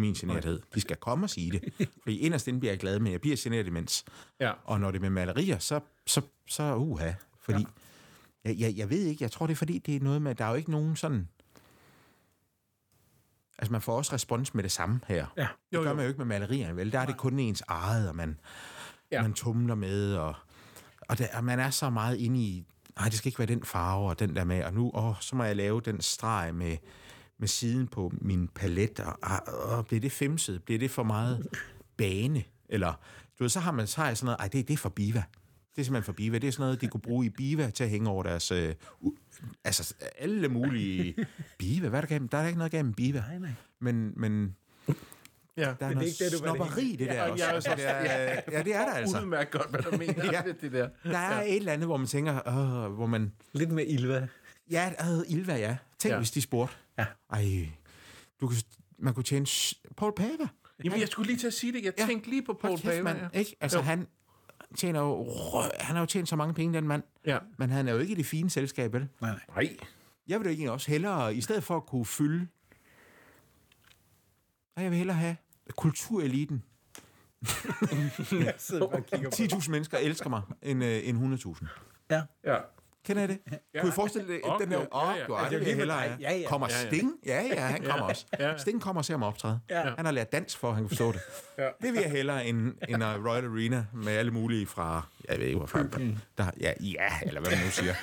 S1: *laughs*
S3: min generthed. De skal komme og sige det, fordi inderst inden bliver jeg glad, men jeg bliver generet imens.
S1: ja.
S3: Og når det er med malerier, så, så, så uha. Fordi, ja. jeg, jeg, jeg ved ikke, jeg tror det er fordi, det er noget med, der er jo ikke nogen sådan... Altså, man får også respons med det samme her.
S4: Ja.
S3: Det
S1: Jo,
S3: gør
S1: jo.
S3: man jo ikke med malerierne, vel? Der er det kun ens eget, og man, ja.
S1: Ja.
S3: man tumler med, og, og, der, og man er så meget inde i, nej, det skal ikke være den farve, og den der med, og nu, åh, så må jeg lave den streg med, med siden på min palet, og, og, og bliver det femset? Bliver det for meget bane? Eller, du ved, så har man så har jeg sådan noget, ej, det, det er for biva. Det er simpelthen for biva. Det er sådan noget, de kunne bruge i biva til at hænge over deres... Øh, u- altså, alle
S1: *laughs*
S3: mulige... Biva, hvad er der galt? med- Der er da ikke noget galt med biva. Nej, nej. Men, men
S1: ja.
S3: der er,
S4: Men det er
S3: noget
S4: ikke det, du var det
S3: snopperi, i det der
S1: Ja,
S3: også.
S1: ja,
S3: Altså, det er, øh, *laughs* ja, det er der altså.
S1: Udmærket godt,
S3: *laughs*
S1: hvad du mener
S3: Ja.
S1: med det der.
S3: Der er et eller andet, hvor man tænker, øh, hvor man...
S4: Lidt mere Ilva.
S3: Ja, øh, Ilva, ja. Tænk, ja.
S1: Ja.
S3: hvis de spurgte.
S4: Ja.
S3: Ej, du kan, man kunne tjene... sh- Paul Pava.
S1: Jamen, jeg skulle lige til at sige det. Jeg
S3: Ja.
S1: tænkte lige på Paul
S3: Hold kæft,
S1: Pava.
S3: mand.
S1: Ja.
S3: Ikke? Altså,
S1: Jo.
S3: han tjener jo... rø- Han har jo tjent så mange penge, den mand.
S1: Ja.
S3: Men han er jo ikke i det fine selskab, vel?
S4: Nej, nej.
S1: Nej.
S3: Jeg vil jo egentlig også hellere, i stedet for at kunne fylde... Nej, jeg vil hellere have kultureliten
S4: Jeg sidder bare og kigger på
S3: 10.000 mennesker elsker mig end, øh, end 100.000.
S4: Ja.
S1: Ja.
S3: Kender I det? Ja. Kunne I forestille jer,
S1: Ja,
S3: at den der...
S1: ja,
S3: Åh,
S1: ja.
S3: du har
S4: Altså,
S3: aldrig
S4: det er jo
S3: hellere
S4: helt- ja, ja.
S3: Kommer
S1: Ja, ja.
S3: Sting? Ja, ja, han kommer også.
S1: ja.
S3: Sting kommer og ser mig optræde.
S4: Ja.
S3: Han har lært dans for, at han kan forstå det. Det vil jeg hellere end, end øh, Royal Arena med alle mulige fra... Jeg ved ikke, hvor fra... Der, ja, ja, eller hvad man nu siger.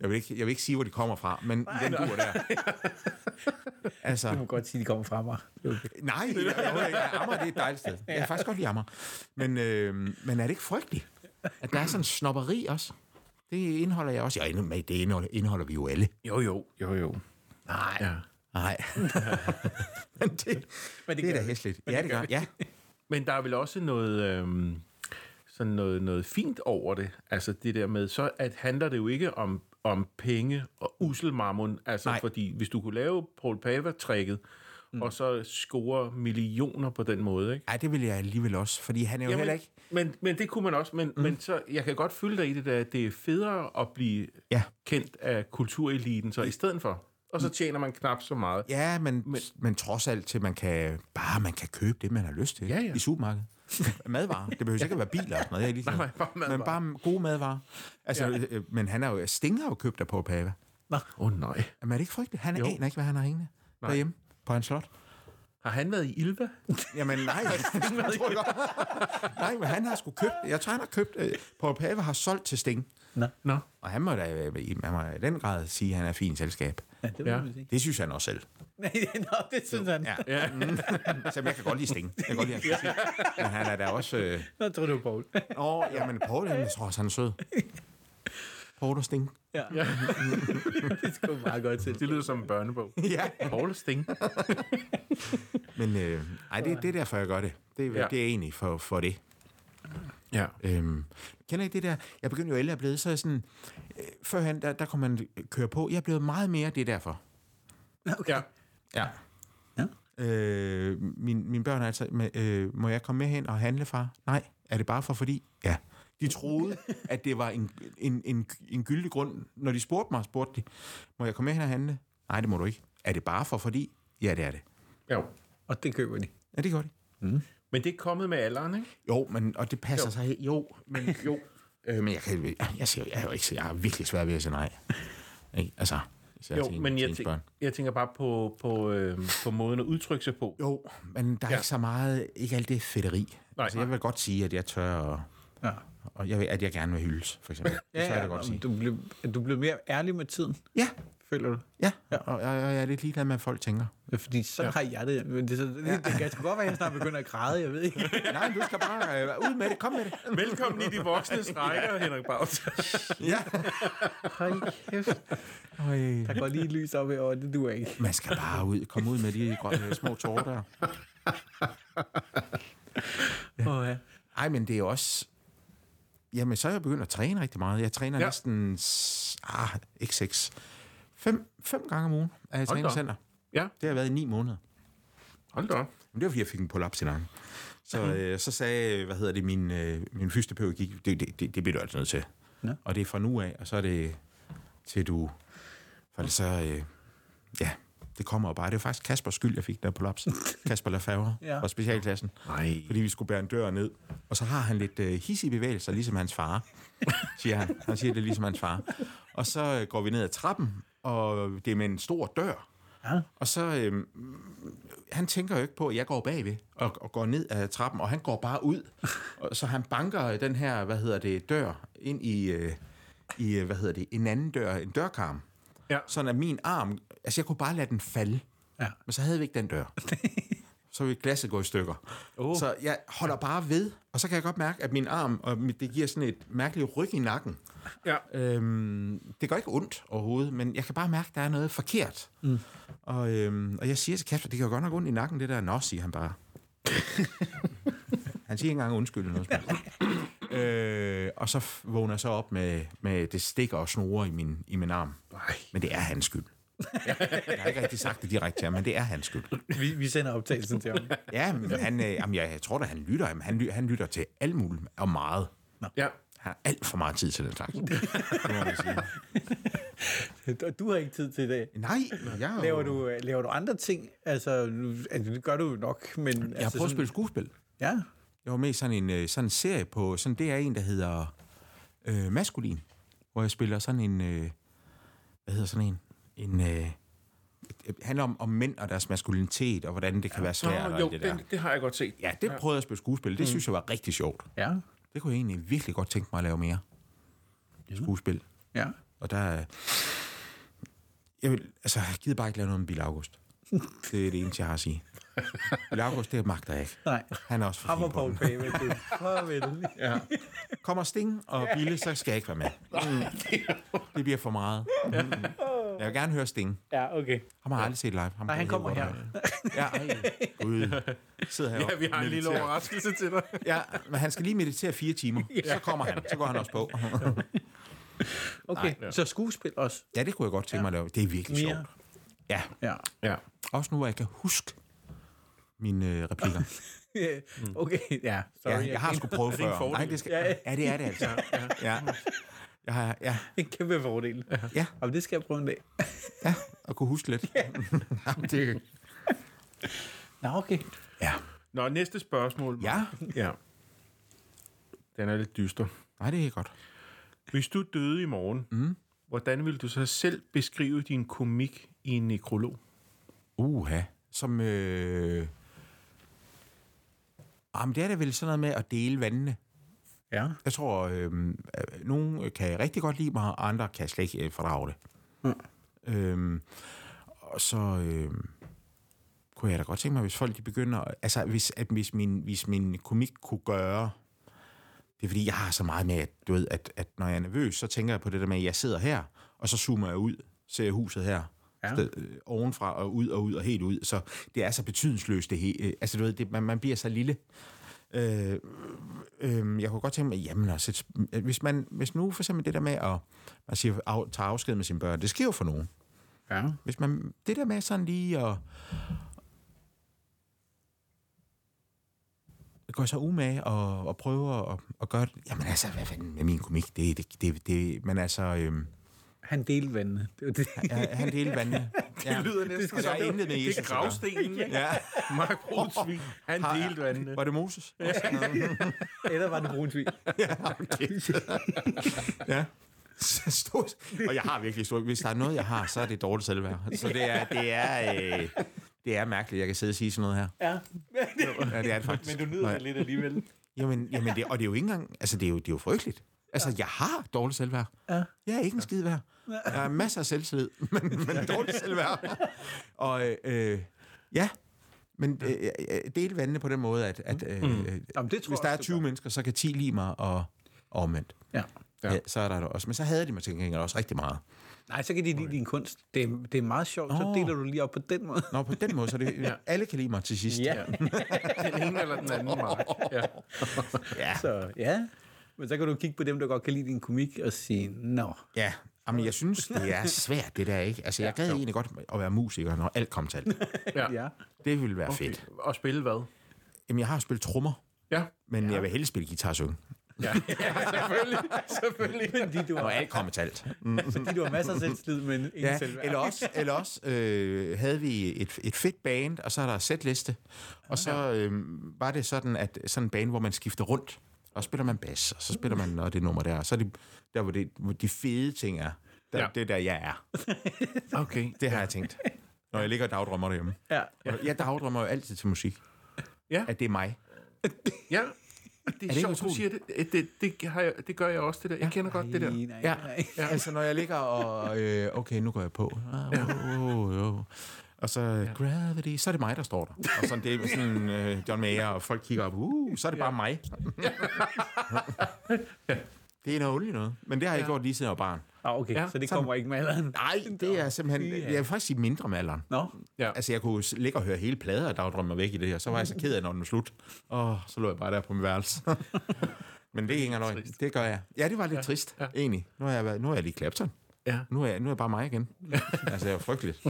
S3: jeg, vil ikke, jeg vil ikke sige, hvor de kommer fra, men i den dur der. Altså,
S4: Du må godt sige, at de kommer fra mig. Det er okay.
S3: nej, det er, ikke. Amager det er et dejligt sted. Jeg kan faktisk godt lide Amager. Men, øh, men er det ikke frygteligt, at der er sådan en snopperi også? Det indeholder jeg også. Ja, inde- men det indeholder, indeholder vi jo alle.
S1: Jo, jo, jo, jo.
S3: Nej.
S1: Ja.
S3: Nej. men det, men det, det er da hæsligt. Ja, det gør Ja.
S1: Men der er vel også noget, øhm, sådan noget, noget fint over det. Altså det der med, så at handler det jo ikke om, om penge og uselmarmon. Altså Nej.
S3: Nej.
S1: fordi, hvis du kunne lave Paul Pava-trækket, mm. og så score millioner på den måde, ikke?
S3: Ej, det vil jeg alligevel også, fordi han er jo Jamen, heller ikke...
S1: Men, men det kunne man også, men, mm. men så, jeg kan godt følge dig i det, der, at det er federe at blive
S3: Ja.
S1: kendt af kultureliten, så i stedet for. Og så tjener man knap så meget.
S3: Ja, men, men, men trods alt til, man kan, bare man kan købe det, man har lyst til
S1: Ja, ja.
S3: i supermarkedet. Madvarer. Det behøver ikke at være biler og sådan noget. Jeg er lige
S1: Nej, nej, bare madvarer.
S3: Men bare gode madvarer. Altså,
S1: Ja.
S3: ja. øh, men han er jo, Stinger har jo købt der på Pava.
S1: Åh oh, nej.
S3: Jamen, er det ikke frygteligt? Han
S1: Jo.
S3: aner ikke, hvad han har hængende nej. derhjemme på hans slot.
S1: Har han været i Ilva?
S3: Jamen nej, *laughs* jeg tror godt. nej, men han har sgu købt, jeg tror han har købt, øh, Paul Pave har solgt til Sting,
S1: Nå,
S3: og han må da øh, i- man må i den grad sige, at han er fint selskab.
S4: Ja, det må
S1: Ja.
S4: man sige. *laughs*
S3: Det synes han også selv.
S4: Nej, nå, det synes han.
S3: Ja. ja. Mm. *laughs* Så jeg kan godt lide Sting. Jeg kan godt lide hans musik. Men han er da også... Øh...
S4: Nå, tror du, Paul.
S3: Nå, jamen, Paul, jeg tror også, han er *laughs* sød. Paul og Sting.
S4: Ja. det skulle meget godt til.
S1: det lyder som en børnebog.
S3: Ja.
S1: Paul Sting.
S3: Men øh, ej, det, det er derfor, jeg gør det. Det,
S1: Ja.
S3: ja. det er egentlig for, for det.
S1: Ja.
S3: Øhm, kender I det der? Jeg begyndte jo ældre at blive, så er jeg sådan... Øh, førhen, der, der kunne man køre på. Jeg er blevet meget mere, det er derfor.
S1: Okay. Ja.
S3: Ja.
S4: Ja.
S3: Øh, min, mine børn er altså, med, øh, må jeg komme med hen og handle, far? Nej. Er det bare for fordi? Ja. De troede, at det var en, en, en, en gyldig grund. Når de spurgte mig, spurgte de, må jeg komme med hen og handle? Nej, det må du ikke. Er det bare for fordi? Ja, det er det.
S1: Jo.
S4: Og det køber de.
S3: Ja, det gør de.
S1: Men det er kommet med alderen, ikke?
S3: Jo, men, og det passer jo. sig. he- Jo,
S1: *laughs*
S3: men jo. Øh, men jeg, kan, jeg, siger, jeg, er jo ikke, jeg er virkelig svær ved at sige nej. Ikke? Altså, især
S1: Jo,
S3: til en-
S1: men
S3: til
S1: jeg,
S3: ens
S1: tænker,
S3: børn.
S1: jeg tænker bare på, på, øh, på måden at udtrykke sig på.
S3: Jo, men der er
S1: Ja.
S3: ja. ikke så meget, ikke alt det fedteri.
S1: Nej,
S3: Nej, altså, jeg
S1: nej.
S3: vil godt sige, at jeg tør, og,
S4: Ja.
S3: og jeg, vil- at jeg gerne vil hyldes, for eksempel. Det tør jeg da godt sige.
S4: Du blev, er du blev mere ærlig med tiden,
S3: Ja,
S4: føler du?
S3: ja, og, og, og jeg er lidt ligeglad med, hvad folk
S1: *laughs*
S3: tænker.
S4: Ja, Fordi sådan ja. har jeg det. Men det, er så, det, det kan sgu godt være, at jeg snart begynder at græde, jeg ved ikke.
S3: Nej, du skal bare øh, ud med det, kom med det.
S1: Velkommen i de voksne strækker, Henrik Baus.
S3: Ja.
S4: Hold kæft.
S3: Øj.
S4: Der går lige et lys op herovre, det duer ikke.
S3: Man skal bare ud, komme ud med de grønne, små tårer der.
S4: Åh, ja.
S3: Ej, men det er jo også... Jamen, så er jeg begyndt at træne rigtig meget. Jeg træner
S1: Ja.
S3: ja. næsten... s- Ah, ikke seks. Fem, fem gange om ugen er jeg
S1: Hold
S3: i
S1: da op.
S3: træningscenter.
S1: Ja,
S3: Det har været i ni måneder.
S1: hold da op.
S3: Men det var, fordi jeg fik en prolaps i nakken. Så, øh, så sagde, hvad hedder det, min, øh, min fysioterapeut gik, det, det, det, det bliver du altså nødt til.
S4: Nå.
S3: Og det er fra nu af, og så er det til du... For det så, øh, ja, det kommer jo bare. Det var faktisk Kaspers skyld, jeg fik den her prolaps. Kasper Lafavre
S4: Ja.
S3: ja. fra specialklassen.
S1: Nej.
S3: Fordi vi skulle bære en dør ned. Og så har han lidt øh, hissige bevægelser, ligesom hans far, *laughs* siger han. Han siger det er ligesom hans far. Og så øh, går vi ned ad trappen, og det er med en stor dør.
S4: Ja.
S3: Og så, øh, han tænker jo ikke på, at jeg går bagved og, og går ned ad trappen, og han går bare ud. Og, så han banker den her, hvad hedder det, dør ind i, øh, i øh, hvad hedder det, en anden dør, en dørkarm.
S1: Ja.
S3: Sådan at min arm, altså jeg kunne bare lade den falde.
S4: Ja.
S3: Men så havde vi ikke den *laughs* dør. så ville glasset gå i stykker. Oh. Så jeg holder bare ved, og så kan jeg godt mærke, at min arm, og mit- det giver sådan et mærkeligt ryg i nakken.
S1: Ja.
S3: Øhm, det gør ikke ondt overhovedet, men jeg kan bare mærke, at der er noget forkert. Mm. Og, øhm, og jeg siger til Kasper, det gør godt nok ondt i nakken, det der. Nå, siger han *laughs* bare. han siger ikke engang undskyld eller noget. som helst. øh, og så f- vågner jeg så op med, med det stikker og snore i min, i min arm. Men det er hans skyld. Jeg har ikke rigtig sagt det direkte til ham, men det er hans skyld.
S4: Vi, vi sender optagelsen til ham.
S3: Ja, men han, øh, jamen, jeg, jeg tror da, han lytter. Jamen, han, ly- han lytter til alt muligt og meget.
S1: Ja.
S3: har alt for meget tid til den slags. Det må man sige.
S4: *laughs* Og du har ikke tid til det.
S3: Nej, jeg er jo-
S4: Laver du, øh, laver du andre ting? Altså, nu- altså, det gør du jo nok, men...
S3: Jeg har
S4: altså,
S3: prøvet at spille skuespil.
S4: Ja,
S3: Jeg var med i sådan en, øh, sådan en serie på, sådan det er en, der hedder øh, Maskulin, hvor jeg spiller sådan en, øh, hvad hedder sådan en, en, øh, det handler om, om mænd og deres maskulinitet, og hvordan det kan være
S1: Nå,
S3: svært og
S1: jo,
S3: alt det der.
S1: det, det har jeg godt set.
S3: Ja, det prøvede jeg at spille skuespil. Det synes jeg var rigtig sjovt.
S4: ja,
S3: Det kunne jeg egentlig virkelig godt tænke mig at lave mere. Skuespil.
S4: ja.
S3: Og der... øh, Jeg vil, altså, jeg gider bare ikke lave noget med Bill August. Det er det eneste, jeg har at sige. Bill August, det magter jeg ikke.
S4: Nej.
S3: Han er også for
S4: Ham
S3: fin
S4: og
S3: på
S4: Paul
S3: den.
S4: Pave, du. Farvel. *laughs* Ja.
S3: Kommer Sting og Bille, så skal jeg ikke være med. Det bliver for meget. Jeg vil gerne høre Sting.
S4: ja, okay.
S3: Ham har jeg aldrig set live. Ham
S4: Nej, han kommer her.
S3: Ja, ej. Gud. Sidder heroppe.
S1: Ja, vi har en lille
S3: Militær.
S1: overraskelse til dig.
S3: Ja, men han skal lige meditere fire timer. Så kommer han. Så går han også på.
S4: Okay, så skuespil også.
S3: Ja, det kunne jeg godt tænke mig at lave. Det er virkelig
S4: Mere.
S3: sjovt. Ja,
S4: Ja.
S1: Ja.
S3: også nu, hvor jeg kan huske mine øh, *laughs* replikker.
S4: *laughs* okay, Mm. ja. Sorry,
S3: ja, jeg har sgu prøvet
S1: det en
S3: før.
S1: fordel?
S3: Nej, det skal, ja, det er det altså. Ja, ja. Jeg har, ja,
S4: En kæmpe fordel.
S3: Ja.
S4: Jamen, det skal jeg prøve en dag.
S3: ja, at kunne huske *laughs* lidt. Jamen, det,
S4: Nå, okay.
S3: ja.
S1: Nå, næste spørgsmål.
S3: ja,
S1: ja. Den er lidt dyster.
S3: nej, det er godt.
S1: Hvis du døde i morgen, mm. hvordan ville du så selv beskrive din komik i en nekrolog?
S3: Uha. Som, øh... Jamen, det er da vel sådan noget med at dele vandene.
S4: Ja.
S3: Jeg tror, øh, øh, nogen kan rigtig godt lide mig, og andre kan slet ikke øh, fordrage det. Mm. Øh, og så øh, kunne jeg da godt tænke mig, hvis folk de begynder... Altså, hvis, at, hvis, min, hvis min komik kunne gøre... Det er fordi, jeg har så meget med, at, du ved, at, at når jeg er nervøs, så tænker jeg på det der med, at jeg sidder her, og så zoomer jeg ud, ser jeg huset her.
S4: Ja.
S3: Sted, øh, ovenfra og ud og ud og helt ud. Så det er så betydningsløst det hele. Altså, du ved, det, man, man bliver så lille. Øh, øh, jeg kunne godt tænke mig, jamen også, et, sp- hvis, man, hvis nu for eksempel det der med at man siger, af, tage afsked med sine børn, det sker jo for nogen.
S4: Ja.
S3: Hvis man, det der med sådan lige at... Gå så umage og, og prøve at, at gøre det. Jamen altså, hvad fanden med min komik? Det, det, det, det men altså, øhm,
S4: Han delte vandene. Det var *laughs* det.
S3: ja, han delte
S1: *laughs*
S3: vandene. Ja.
S1: næsten
S3: og der er intet med Jesus
S1: Det
S3: at
S1: er
S3: gøre.
S1: gravstenen, ikke?
S3: Ja.
S1: *laughs* Mark Brunsvig, han
S3: Har-
S1: delte vandene.
S3: Var det Moses? Ja.
S4: Eller var det brun *laughs* svin?
S3: *laughs* ja. Så Stor, og jeg har virkelig stor... Hvis der er noget, jeg har, så er det dårligt selvværd. Så det er, det er, øh, det er mærkeligt, jeg kan sidde og sige sådan noget her.
S4: *laughs* Ja.
S3: Ja, det er det faktisk.
S4: Men du nyder det lidt alligevel.
S3: Jamen, jamen det, og det er jo ikke engang... Altså, det er jo, det er jo frygteligt. Altså, jeg har dårligt selvværd. Ja. Jeg er ikke en skid værd. Jeg har masser af selvtillid, *laughs* men, men dårligt selvværd. Og øh, øh, ja, men øh, øh, dele vandene på den måde, at, at øh, øh,
S4: Mm. Jamen, det tror
S3: hvis
S4: jeg
S3: der er
S4: også, du
S3: 20 mennesker, så kan 10 lide mig og, og omvendt.
S4: Ja.
S1: Ja.
S3: Ja. ja. så er der det også. Men så havde de mig til gengæld også rigtig meget.
S4: Nej, så kan de lide din kunst. Det er, det er meget sjovt. Så
S3: Nå.
S4: deler du lige op på den måde.
S3: Nå, på den måde, så er det, alle kan lide mig til
S4: *laughs*
S3: sidst.
S4: Ja.
S1: Den ene eller den anden, Mark. Ja.
S3: ja.
S4: Så ja. Men så kan du kigge på dem, der godt kan lide din komik, og sige, nå.
S3: ja. Jamen, jeg synes, det er svært, det der, ikke? Altså, jeg gad egentlig godt at være musiker, når alt kom til alt.
S1: Ja.
S4: Ja.
S3: Det ville være fedt.
S1: Og spille hvad?
S3: Jamen, jeg har spillet trommer,
S1: Ja.
S3: men ja. jeg vil helst spille guitar og synge.
S1: Ja, ja selvfølgelig. selvfølgelig.
S4: Fordi du
S3: Når
S4: har,
S3: alt kommer til alt.
S4: *laughs* fordi du har masser af selvslid, men ingen
S3: Ja,
S4: selvværd.
S3: eller også, eller også øh, havde vi et, et fedt band, og så er der sætliste. Og så øh, var det sådan, at sådan en band, hvor man skifter rundt. Og så spiller man bas, og så spiller man og det nummer der. Og så er det der, hvor, det, hvor de fede ting er. Der,
S1: Ja.
S3: ja. Det er der, jeg er.
S1: Okay.
S3: Det har jeg tænkt. Når jeg ligger og dagdrømmer derhjemme.
S4: Ja.
S3: Jeg dagdrømmer jo altid til musik.
S1: Ja.
S3: At det er mig.
S1: Ja. Det er, er
S3: ikke
S1: det sjovt, du
S3: utroligt?
S1: siger det. Det, det, det, har jeg, det gør jeg også, det der. Jeg kender godt det der.
S4: Nej, nej,
S3: Ja.
S4: nej.
S3: ja, altså når jeg ligger og... Øh, okay, nu går jeg på. Ah, oh, oh, oh. Og så ja. Gravity, så er det mig, der står der. Og sådan, det er sådan øh, John Mayer, og folk kigger op, uh, så er det bare *laughs* mig. det er noget ondt noget, men det har jeg ja. gjort lige siden jeg var barn.
S4: Ah, okay,
S1: Ja,
S4: så det kommer ikke med alderen.
S3: Nej, det er simpelthen, jeg vil faktisk sige mindre med alderen.
S4: Nå,
S1: Ja.
S3: Altså, jeg kunne s- ligge og høre hele plader og dagdrømme mig væk i det her. Så var jeg så ked af, når den var slut. Og så lå jeg bare der på min *laughs* værelse. Men det er ikke engang løgn. Det gør jeg. Ja, det var lidt ja, trist, ja. egentlig. Nu har jeg, været, nu har jeg lige Clapton.
S1: Ja.
S3: Nu er, jeg, nu er jeg bare mig *laughs* igen. altså, jeg er frygteligt.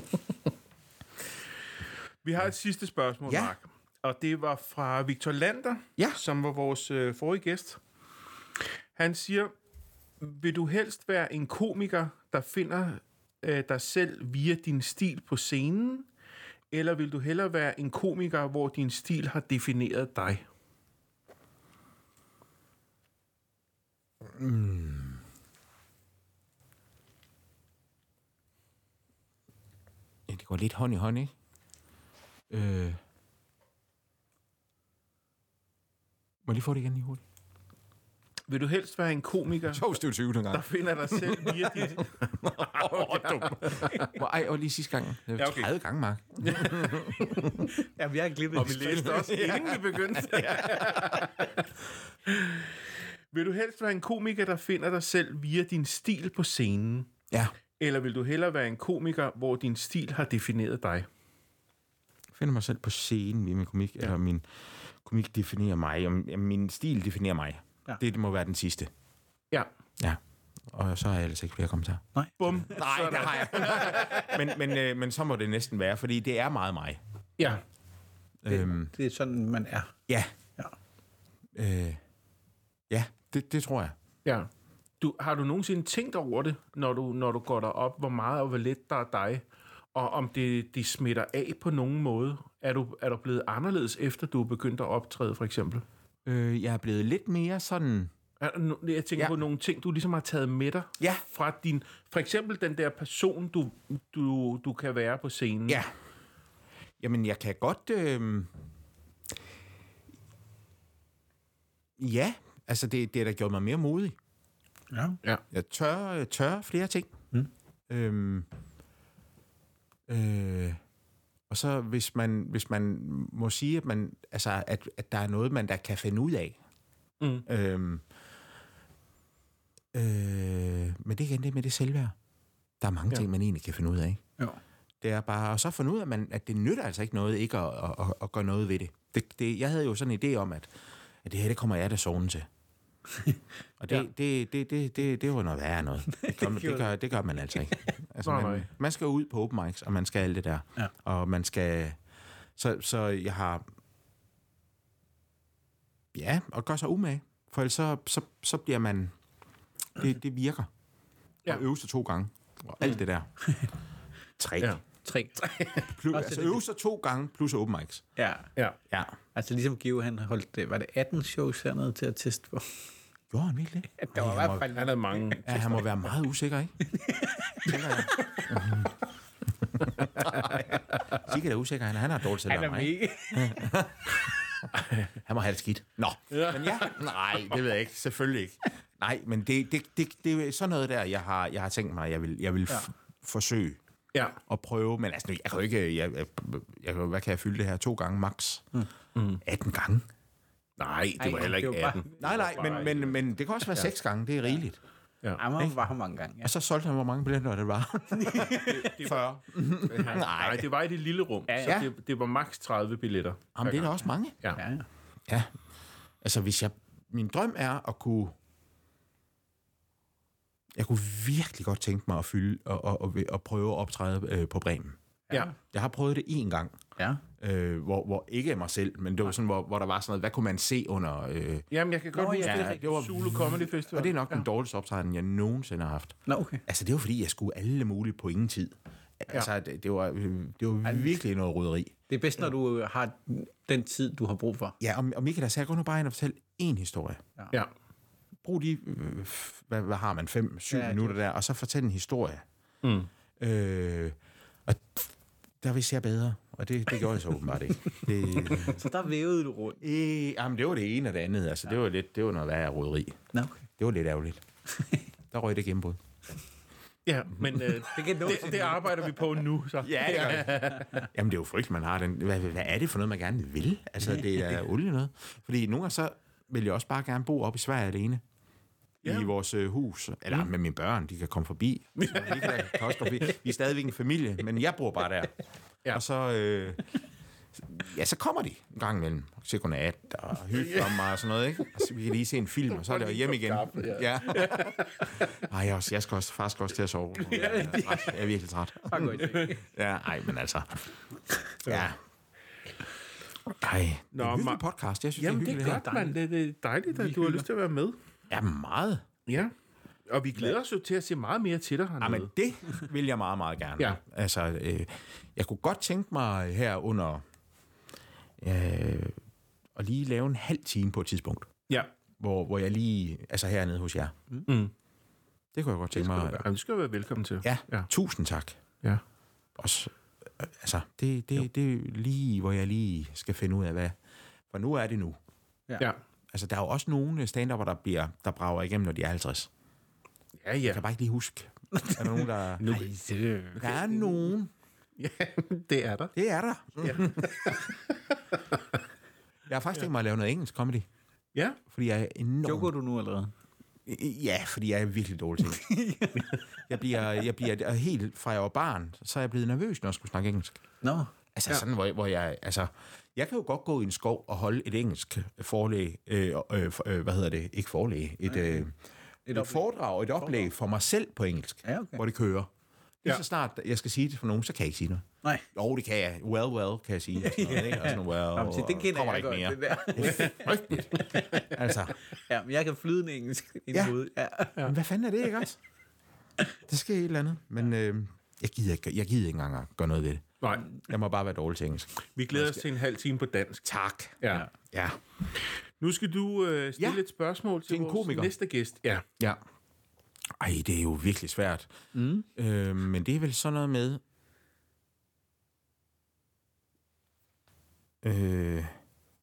S1: Vi har et sidste spørgsmål, ja.
S3: Ja.
S1: Mark. Og det var fra Victor Lander,
S3: Ja.
S1: som var vores øh, forrige gæst. Han siger, vil du helst være en komiker, der finder øh, dig selv via din stil på scenen, eller vil du hellere være en komiker, hvor din stil har defineret dig?
S3: Ja, det går lidt hånd i hånd, ikke? Øh. Må jeg lige få det igen lige hurtigt?
S1: Vil du helst være en komiker, *laughs*
S3: Tovstøvtyve nogle
S1: der
S3: gange.
S1: finder dig selv via *laughs* din...
S3: Ej, og lige sidste gang. Det var
S1: Ja, okay.
S3: 30 gange, Mark.
S4: Ja, vi har glippet.
S1: Og vi læste *laughs* også, inden vi begyndte. vil du helst være en komiker, der finder dig selv via din stil på scenen,
S3: Ja,
S1: eller vil du hellere være en komiker, hvor din stil har defineret dig?
S3: finder mig selv på scenen i min komik, ja. eller min komik definerer mig, og ja, min stil definerer mig.
S4: Ja.
S3: Ja. Det, det må være den sidste.
S1: Ja.
S3: Ja. Og så har jeg ellers ikke flere kommentarer.
S1: Bum.
S3: Nej, det har jeg. *laughs* men, men, øh, men så må det næsten være, fordi det er meget mig.
S1: Ja.
S3: Øhm,
S4: Det er sådan, man er.
S3: ja.
S4: Ja.
S3: Øh, ja, det, det tror jeg.
S1: Ja. Du, har du nogensinde tænkt over det, når du, når du går derop, hvor meget og hvor lidt der er dig, og om det, det smitter af på nogen måde? Er du, er du blevet anderledes, efter du er begyndt at optræde, for eksempel?
S3: Øh, jeg er blevet lidt mere sådan...
S1: Er der no- Jeg tænker ja.
S3: Ja.
S1: på nogle ting, du ligesom har taget med dig
S3: Ja.
S1: fra din... For eksempel den der person, du, du, du kan være på scenen.
S3: Ja. Jamen, jeg kan godt... Øh... Ja, altså det, det har da gjort mig mere modig.
S4: Ja.
S3: Jeg tør, øh, tør flere ting.
S4: Mm.
S3: Øhm, øh, og så hvis man, hvis man må sige, at, man, altså, at, at der er noget, man der kan finde ud af.
S1: Mm.
S3: Øhm, øh, men det er igen det med det selvværd. Der er mange
S1: Ja.
S3: ja. ting, man egentlig kan finde ud af. Ikke?
S4: Jo.
S3: Det er bare, og så finde ud af, at man, at det nytter altså ikke noget, ikke at, at, at, at gøre noget ved det. det, det jeg havde jo sådan en idé om, at, at det her, det kommer jeg da zonen til. Og det,
S1: Ja.
S3: ja. det, det, det, det, det var noget værre noget. Det, kom, det, gør, det gør man altså ikke. Altså,
S1: Nej, nej.
S3: man, man skal ud på open mics, og man skal alt det der.
S4: Ja.
S3: Og man skal... Så, så jeg har... Ja, og gør sig umage. For ellers så, så, så bliver man... Det, det virker.
S1: Ja.
S3: Ja. Og øve sig to gange. Og alt det der. Tre.
S1: Ja.
S3: Ja.
S4: Tre.
S3: Plus,
S4: Også
S3: altså
S4: det-
S3: øve sig to gange, plus open mics.
S4: Ja.
S1: Ja.
S3: Ja.
S4: Altså ligesom Geo, han holdt, det, var det 18 shows hernede til at teste på?
S3: Gjorde han virkelig det?
S4: Der var i hvert fald
S1: Han havde mange...
S3: Ja, han må være meget usikker,
S4: *laughs*
S3: ikke? Tænker jeg. *laughs* Sikkert er usikker. Han, han har dårligt til at
S4: Han er
S3: være mig.
S4: mega.
S3: Han må have det skidt. Nå, men ja, nej, det ved jeg ikke. Selvfølgelig ikke. Nej, men det, det, det, det er sådan noget der, jeg har, jeg har tænkt mig, jeg vil, jeg vil f- forsøge
S1: Ja.
S3: at prøve. Men altså, nu, jeg kan jo ikke, jeg, jeg, jeg, kan jo- hvad kan jeg fylde det her? To gange max? Mm. 18 gange?
S1: Nej, det var
S4: Ej,
S1: heller ikke
S4: det var
S1: 18.
S3: Nej, nej, men, men, men det kan også være seks gange, det er rigeligt.
S4: Amager var Altså, her mange gange. Ja.
S3: Og så solgte han, hvor mange billetter det var. 40.
S1: Nej,
S3: *laughs* Nej,
S1: det var i det lille rum. Ja, ja.
S3: ja.
S1: Så det, det var maks 30 billetter.
S3: Jamen, det er da også mange.
S4: ja, ja.
S3: Ja. Altså, hvis jeg... Min drøm er at kunne... Jeg kunne virkelig godt tænke mig at fylde og, og, og, og prøve at optræde øh, på Bremen.
S1: Ja.
S3: Jeg har prøvet det én gang,
S4: ja.
S3: øh, hvor, hvor ikke af mig selv, men det var sådan, hvor, hvor der var sådan noget, hvad kunne man se under... Øh,
S1: Jamen, jeg kan godt
S4: Nå,
S1: huske,
S4: ja, det er
S1: det,
S4: rigtigt.
S1: det var Zulu Comedy Festival.
S3: og det er nok ja. den dårligste optræden, jeg nogensinde har haft.
S4: Nå, okay.
S3: Altså, det var fordi, jeg skulle alle mulige på ingen tid. Altså, det, det, var, det var virkelig noget roderi.
S4: Det er bedst, når du øh, har den tid, du har brug for.
S3: Ja, og, og Michael, så jeg går nu bare ind og fortælle én historie.
S1: Ja.
S3: brug de, øh, f- hvad, hvad har man, fem, syv
S4: Ja,
S3: ja, minutter der, og så fortæl en historie. Mm. Øh, og der vidste jeg bedre, og det, det gjorde jeg så åbenbart ikke. Det,
S4: Så der vævede du rundt.
S3: øh, jamen, det var det ene og det andet, altså, ja. det var lidt, det var noget værre roderi.
S4: Nå, okay.
S3: Det var lidt ærgerligt. Der røg det gennembrud.
S1: Ja, men øh, det,
S4: kan nå
S1: det, det arbejder vi på nu, så.
S3: Ja, det Jamen, det er jo frygteligt, man har den. Hvad, hvad er det for noget, man gerne vil? Altså, det *laughs* er olie noget. Fordi nogle gange så vil jeg også bare gerne bo op i Sverige alene. Ja. I vores øh, hus. Eller med mine børn, de kan komme *laughs* forbi. Så de kan, kan også komme forbi. Vi er stadigvæk en familie, men jeg bor bare der.
S1: Ja.
S3: Ja. Og så... Øh, ja, så kommer de en gang imellem. Så godnat og hygge om mig og sådan noget, ikke? Og så vi kan lige se en film, og så er det jo hjem igen. Ja. Ej, jeg, er også, jeg skal også, faktisk også til at sove. Jeg er, træt. jeg er virkelig træt.
S4: Bare gå i seng.
S3: Ja, ej,
S1: *laughs*
S3: men altså. Ja. Ej, Nå, det er en hyggelig
S1: Ma-
S3: podcast. Jeg synes,
S1: Jamen,
S3: det er
S1: det er
S3: hyggeligt.
S1: godt, mand. Det, det er dejligt, at du har lyst til at være med.
S3: Ja, meget.
S1: Ja. Og vi glæder os jo til at se meget mere til dig hernede.
S3: Jamen, det vil jeg meget, meget gerne.
S1: Ja.
S3: Altså, øh, jeg kunne godt tænke mig her under øh, at lige lave en halv time på et tidspunkt,
S1: Ja.
S3: hvor, hvor jeg lige, altså hernede hos jer.
S1: Mm.
S3: Det kunne jeg godt tænke mig.
S1: Jamen, det skal du være velkommen til.
S3: Ja,
S1: Ja.
S3: ja, tusind tak.
S1: ja.
S3: Også, øh, altså, det, det, det er lige, hvor jeg lige skal finde ud af, hvad. For nu er det nu.
S1: Ja,
S3: Altså, der er jo også nogle stand der bliver, der brager igennem, når de er 50.
S1: ja.
S3: Jeg
S1: ja.
S3: kan bare ikke lige huske. Er der nogen, der... nu, *laughs* der er nogen.
S1: det er der.
S3: Det er der. Ja. *laughs* jeg har faktisk tænkt mig at lave noget engelsk comedy,
S1: Ja.
S3: fordi jeg er enormt...
S4: Joker du nu allerede?
S3: Ja, fordi jeg er virkelig dårlig til det. jeg bliver, jeg bliver og helt fra jeg var barn, så er jeg blevet nervøs, når jeg skulle snakke engelsk.
S4: Nå.
S3: Altså ja. sådan, hvor, hvor jeg... Altså, jeg kan jo godt gå i en skov og holde et engelsk forlæg, øh, øh, for- øh, hvad hedder det, ikke forlæg, et, øh, et, et
S4: oplæg.
S3: foredrag, et oplæg for mig selv på engelsk,
S4: Ja, okay.
S3: hvor det kører. Lige
S1: Ja.
S3: ja. så snart jeg skal sige det for nogen, så kan jeg ikke sige noget.
S4: Nej.
S3: Jo, det kan jeg. Well, well, kan jeg sige. Og sådan noget, ikke? Og sådan, well,
S4: Jamen, se, det kender
S3: kommer
S4: jeg
S3: der
S4: godt,
S3: ikke
S4: det der. *laughs*
S3: Frygteligt. altså,
S4: Ja, men jeg kan flydende engelsk i ja.
S3: Ja.
S4: hovedet. Ja.
S3: ja. hvad fanden er det, ikke også? Det sker et eller andet. Men øh, jeg, gider ikke, jeg gider ikke engang at gøre noget ved det.
S1: Nej,
S3: Jeg må bare være dårlig til engelsk.
S1: vi glæder os til en halv time på dansk.
S3: Tak.
S1: Ja.
S3: Ja.
S1: Nu skal du øh, stille
S3: Ja.
S1: et spørgsmål til,
S3: Til en
S1: vores
S3: komiker.
S1: næste gæst. Ja.
S3: Ja. Ej, det er jo virkelig svært. Mm. Øh, men det er vel sådan noget med... Øh,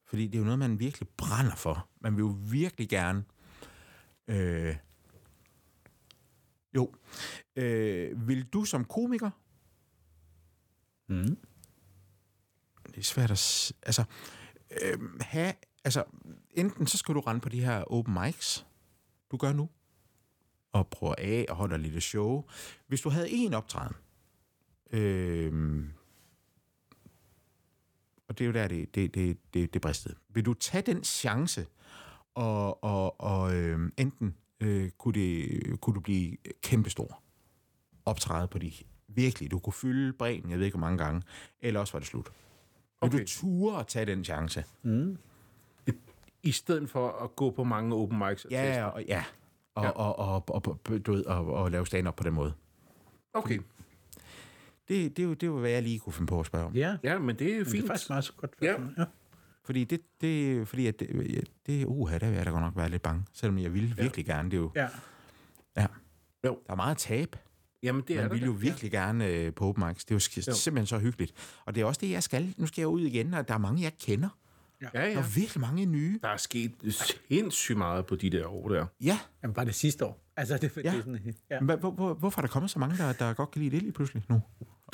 S3: fordi det er jo noget, man virkelig brænder for. Man vil jo virkelig gerne... Øh, jo. Øh, vil du som komiker...
S4: Mm.
S3: Det er svært at... s- Altså, øh, have... Altså, enten så skal du rende på de her open mics, du gør nu, og prøver af og holder et lille show. Hvis du havde én optræden, øh, og det er jo der, det, det, det, det, det bristede. Vil du tage den chance, og, og, og øh, enten øh, kunne, det, kunne du blive kæmpestor optræde på de virkelig, du kunne fylde bredden, jeg ved ikke hvor mange gange, eller også var det slut. Vil
S1: Okay.
S3: du ture at tage den chance?
S1: I stedet for at gå på mange open mics. og teste.
S3: Ja, og, ja. Og, ja. Og, og, og, og, du ved, og, og lave stand-up på den måde.
S1: Okay.
S3: Det, det, er jo- det var, hvad jeg lige kunne finde på at spørge om.
S4: Ja.
S1: Ja, men det er
S4: Det
S1: fint.
S4: er faktisk meget så godt.
S1: Ja.
S4: ja.
S3: Fordi det, det, fordi at det, ja, det uha, der vil jeg da godt nok være lidt bange. Selvom jeg ville virkelig gerne, det er jo,
S4: ja.
S3: ja.
S1: Jo.
S3: Der er meget tab.
S1: Jamen, det er
S3: Man
S1: der.
S3: ville jo virkelig gerne øh, på open mics. Det er jo sk- simpelthen så hyggeligt. Og det er også det, jeg skal. Nu skal jeg ud igen, og der er mange, jeg kender.
S1: Ja,
S3: Der
S1: ja.
S3: er virkelig mange nye.
S1: Der er sket sindssygt meget på de der år der.
S3: Ja.
S4: Jamen, bare det sidste år. Altså, det, ja. det er
S3: Ja.
S4: sådan... Ja.
S3: Hvor, hvor, hvor, hvorfor er der kommet så mange, der, der godt kan lide det lige pludselig nu?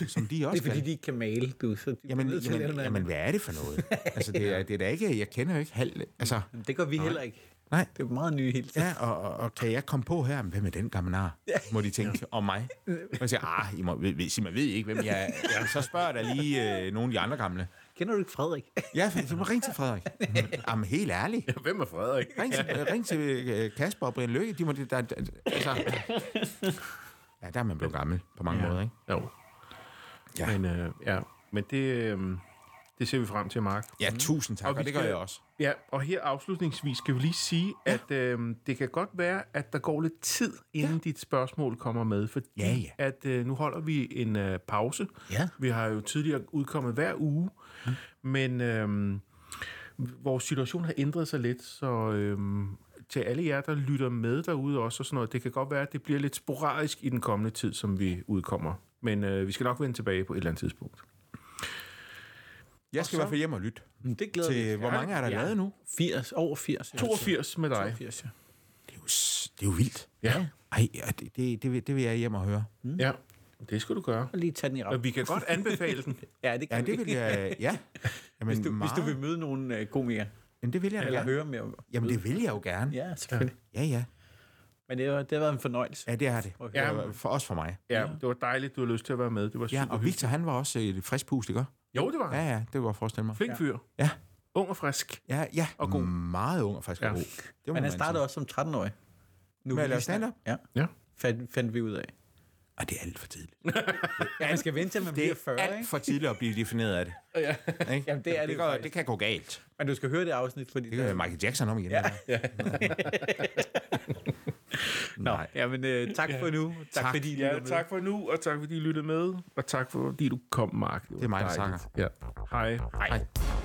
S3: Som de
S4: Det er
S3: også
S4: fordi,
S3: kan.
S4: de ikke kan male, du. Så de
S3: Jamen,
S4: bliver nødt til at lave
S3: jamen,
S4: noget
S3: jamen, hvad er det for
S1: *laughs*
S3: noget? Altså, det er, det er da ikke, jeg kender jo ikke halv... Altså,
S4: andet. Det gør vi heller ikke.
S3: nej.
S4: Det er meget nye hele tiden.
S3: Ja, og, og, og kan jeg komme på her? Men Hvem er den gamle nar? Må de tænke om
S1: *laughs*
S3: mig? Og jeg siger, ah, I må, hvis I må ved ikke, hvem jeg er, jamen, så spørger der lige øh, nogle af de andre gamle.
S4: Kender du ikke Frederik?
S3: Ja, så må ringe til
S1: *laughs*
S3: Frederik. Jamen, helt ærligt.
S1: Hvem er Frederik?
S3: Ring til, øh, ring til øh, Kasper og Brian Løkke. De må, det- der, der, altså, ja, der er man blevet gammel på mange ja. måder, ikke?
S1: Jo. Ja.
S3: Ja.
S1: Men, øh, ja. men det, øh, det ser vi frem til, Mark.
S3: Ja, tusind tak,
S1: Og
S3: og,
S1: vi
S3: og det gør
S1: skal-
S3: jeg også.
S1: Ja, og her afslutningsvis skal vi lige sige, ja. at øh, det kan godt være, at der går lidt tid, inden ja. dit spørgsmål kommer med, fordi
S3: Ja, ja.
S1: at øh, nu holder vi en øh, pause.
S4: *laughs* Ja.
S1: Vi har jo tidligere udkommet hver uge, men øh, vores situation har ændret sig lidt, så øh, til alle jer, der lytter med derude også og sådan noget, det kan godt være, at det bliver lidt sporadisk i den kommende tid, som vi udkommer. Men øh, vi skal nok vende tilbage på et eller andet tidspunkt.
S3: Jeg skal i hvert fald hjem og lytte
S4: Det glæder vi
S3: til,
S4: os
S3: hvor mange er der
S1: Ja.
S3: lavet nu?
S4: 80, over 80.
S1: 82 med dig.
S4: 82, ja.
S3: Det er jo, s- det er jo vildt.
S1: Ja.
S3: Ej, ja, det, det, det, vil, det vil jeg hjem og høre.
S1: ja, det skal du gøre.
S4: Og lige tage den i
S1: Og
S4: rappen.
S1: vi kan godt anbefale den.
S4: Ja, det kan
S3: Ja,
S4: vi.
S3: det vil jeg, ja.
S4: *laughs*
S3: Jamen,
S4: Hvis du, hvis du vil møde nogle øh, komikere,
S3: Jamen, det vil jeg da
S4: eller
S3: gerne.
S4: høre mere om.
S3: Jamen, det vil jeg jo gerne.
S4: Ja, selvfølgelig. Ja.
S3: Ja, ja.
S4: Men det har, det har været en fornøjelse.
S3: Ja, det er det.
S4: Okay.
S3: Ja, for os for mig.
S1: *laughs* Ja, det var dejligt, du har lyst til at være med. Det var
S3: Ja,
S1: super
S3: og Victor, han var også et frisk pust, ikke?
S1: Jo, det var
S3: Ja,
S1: han.
S3: ja, det kunne jeg godt forestille mig.
S1: Flink fyr.
S3: Ja.
S1: Ung og frisk.
S3: Ja, ja.
S1: Og god.
S3: Meget ung og faktisk
S1: Ja.
S3: ja. god. Det må
S4: Men
S3: man
S4: han startede
S3: sige.
S4: også som 13-årig. Nu
S3: Med
S4: er
S3: at
S4: vi
S3: lave
S4: snart-
S3: stand-up?
S4: Ja,
S1: Ja.
S4: fandt, fandt vi ud af.
S3: Og det er alt for tidligt.
S4: Ja, man skal vente til, man
S3: Det
S4: bliver
S3: er 40,
S4: 40,
S3: alt
S4: ikke?
S3: for tidligt at blive defineret
S4: *laughs*
S3: af det.
S1: *laughs*
S3: ja. Ikke?
S4: Jamen, det er det
S3: det,
S4: jo
S3: går,
S4: faktisk.
S3: det kan gå galt.
S4: Men du skal høre det afsnit, fordi...
S3: Det gør Michael Jackson om igen. Ja.
S4: Nå, jamen, øh, tak for nu. Tak, tak. fordi I lyttede
S1: Ja,
S4: med.
S1: tak for nu, og tak fordi I lyttede med, og tak fordi du kom, Mark.
S3: Det er mig, der
S1: dejligt. Ja. Hej.
S3: Hej.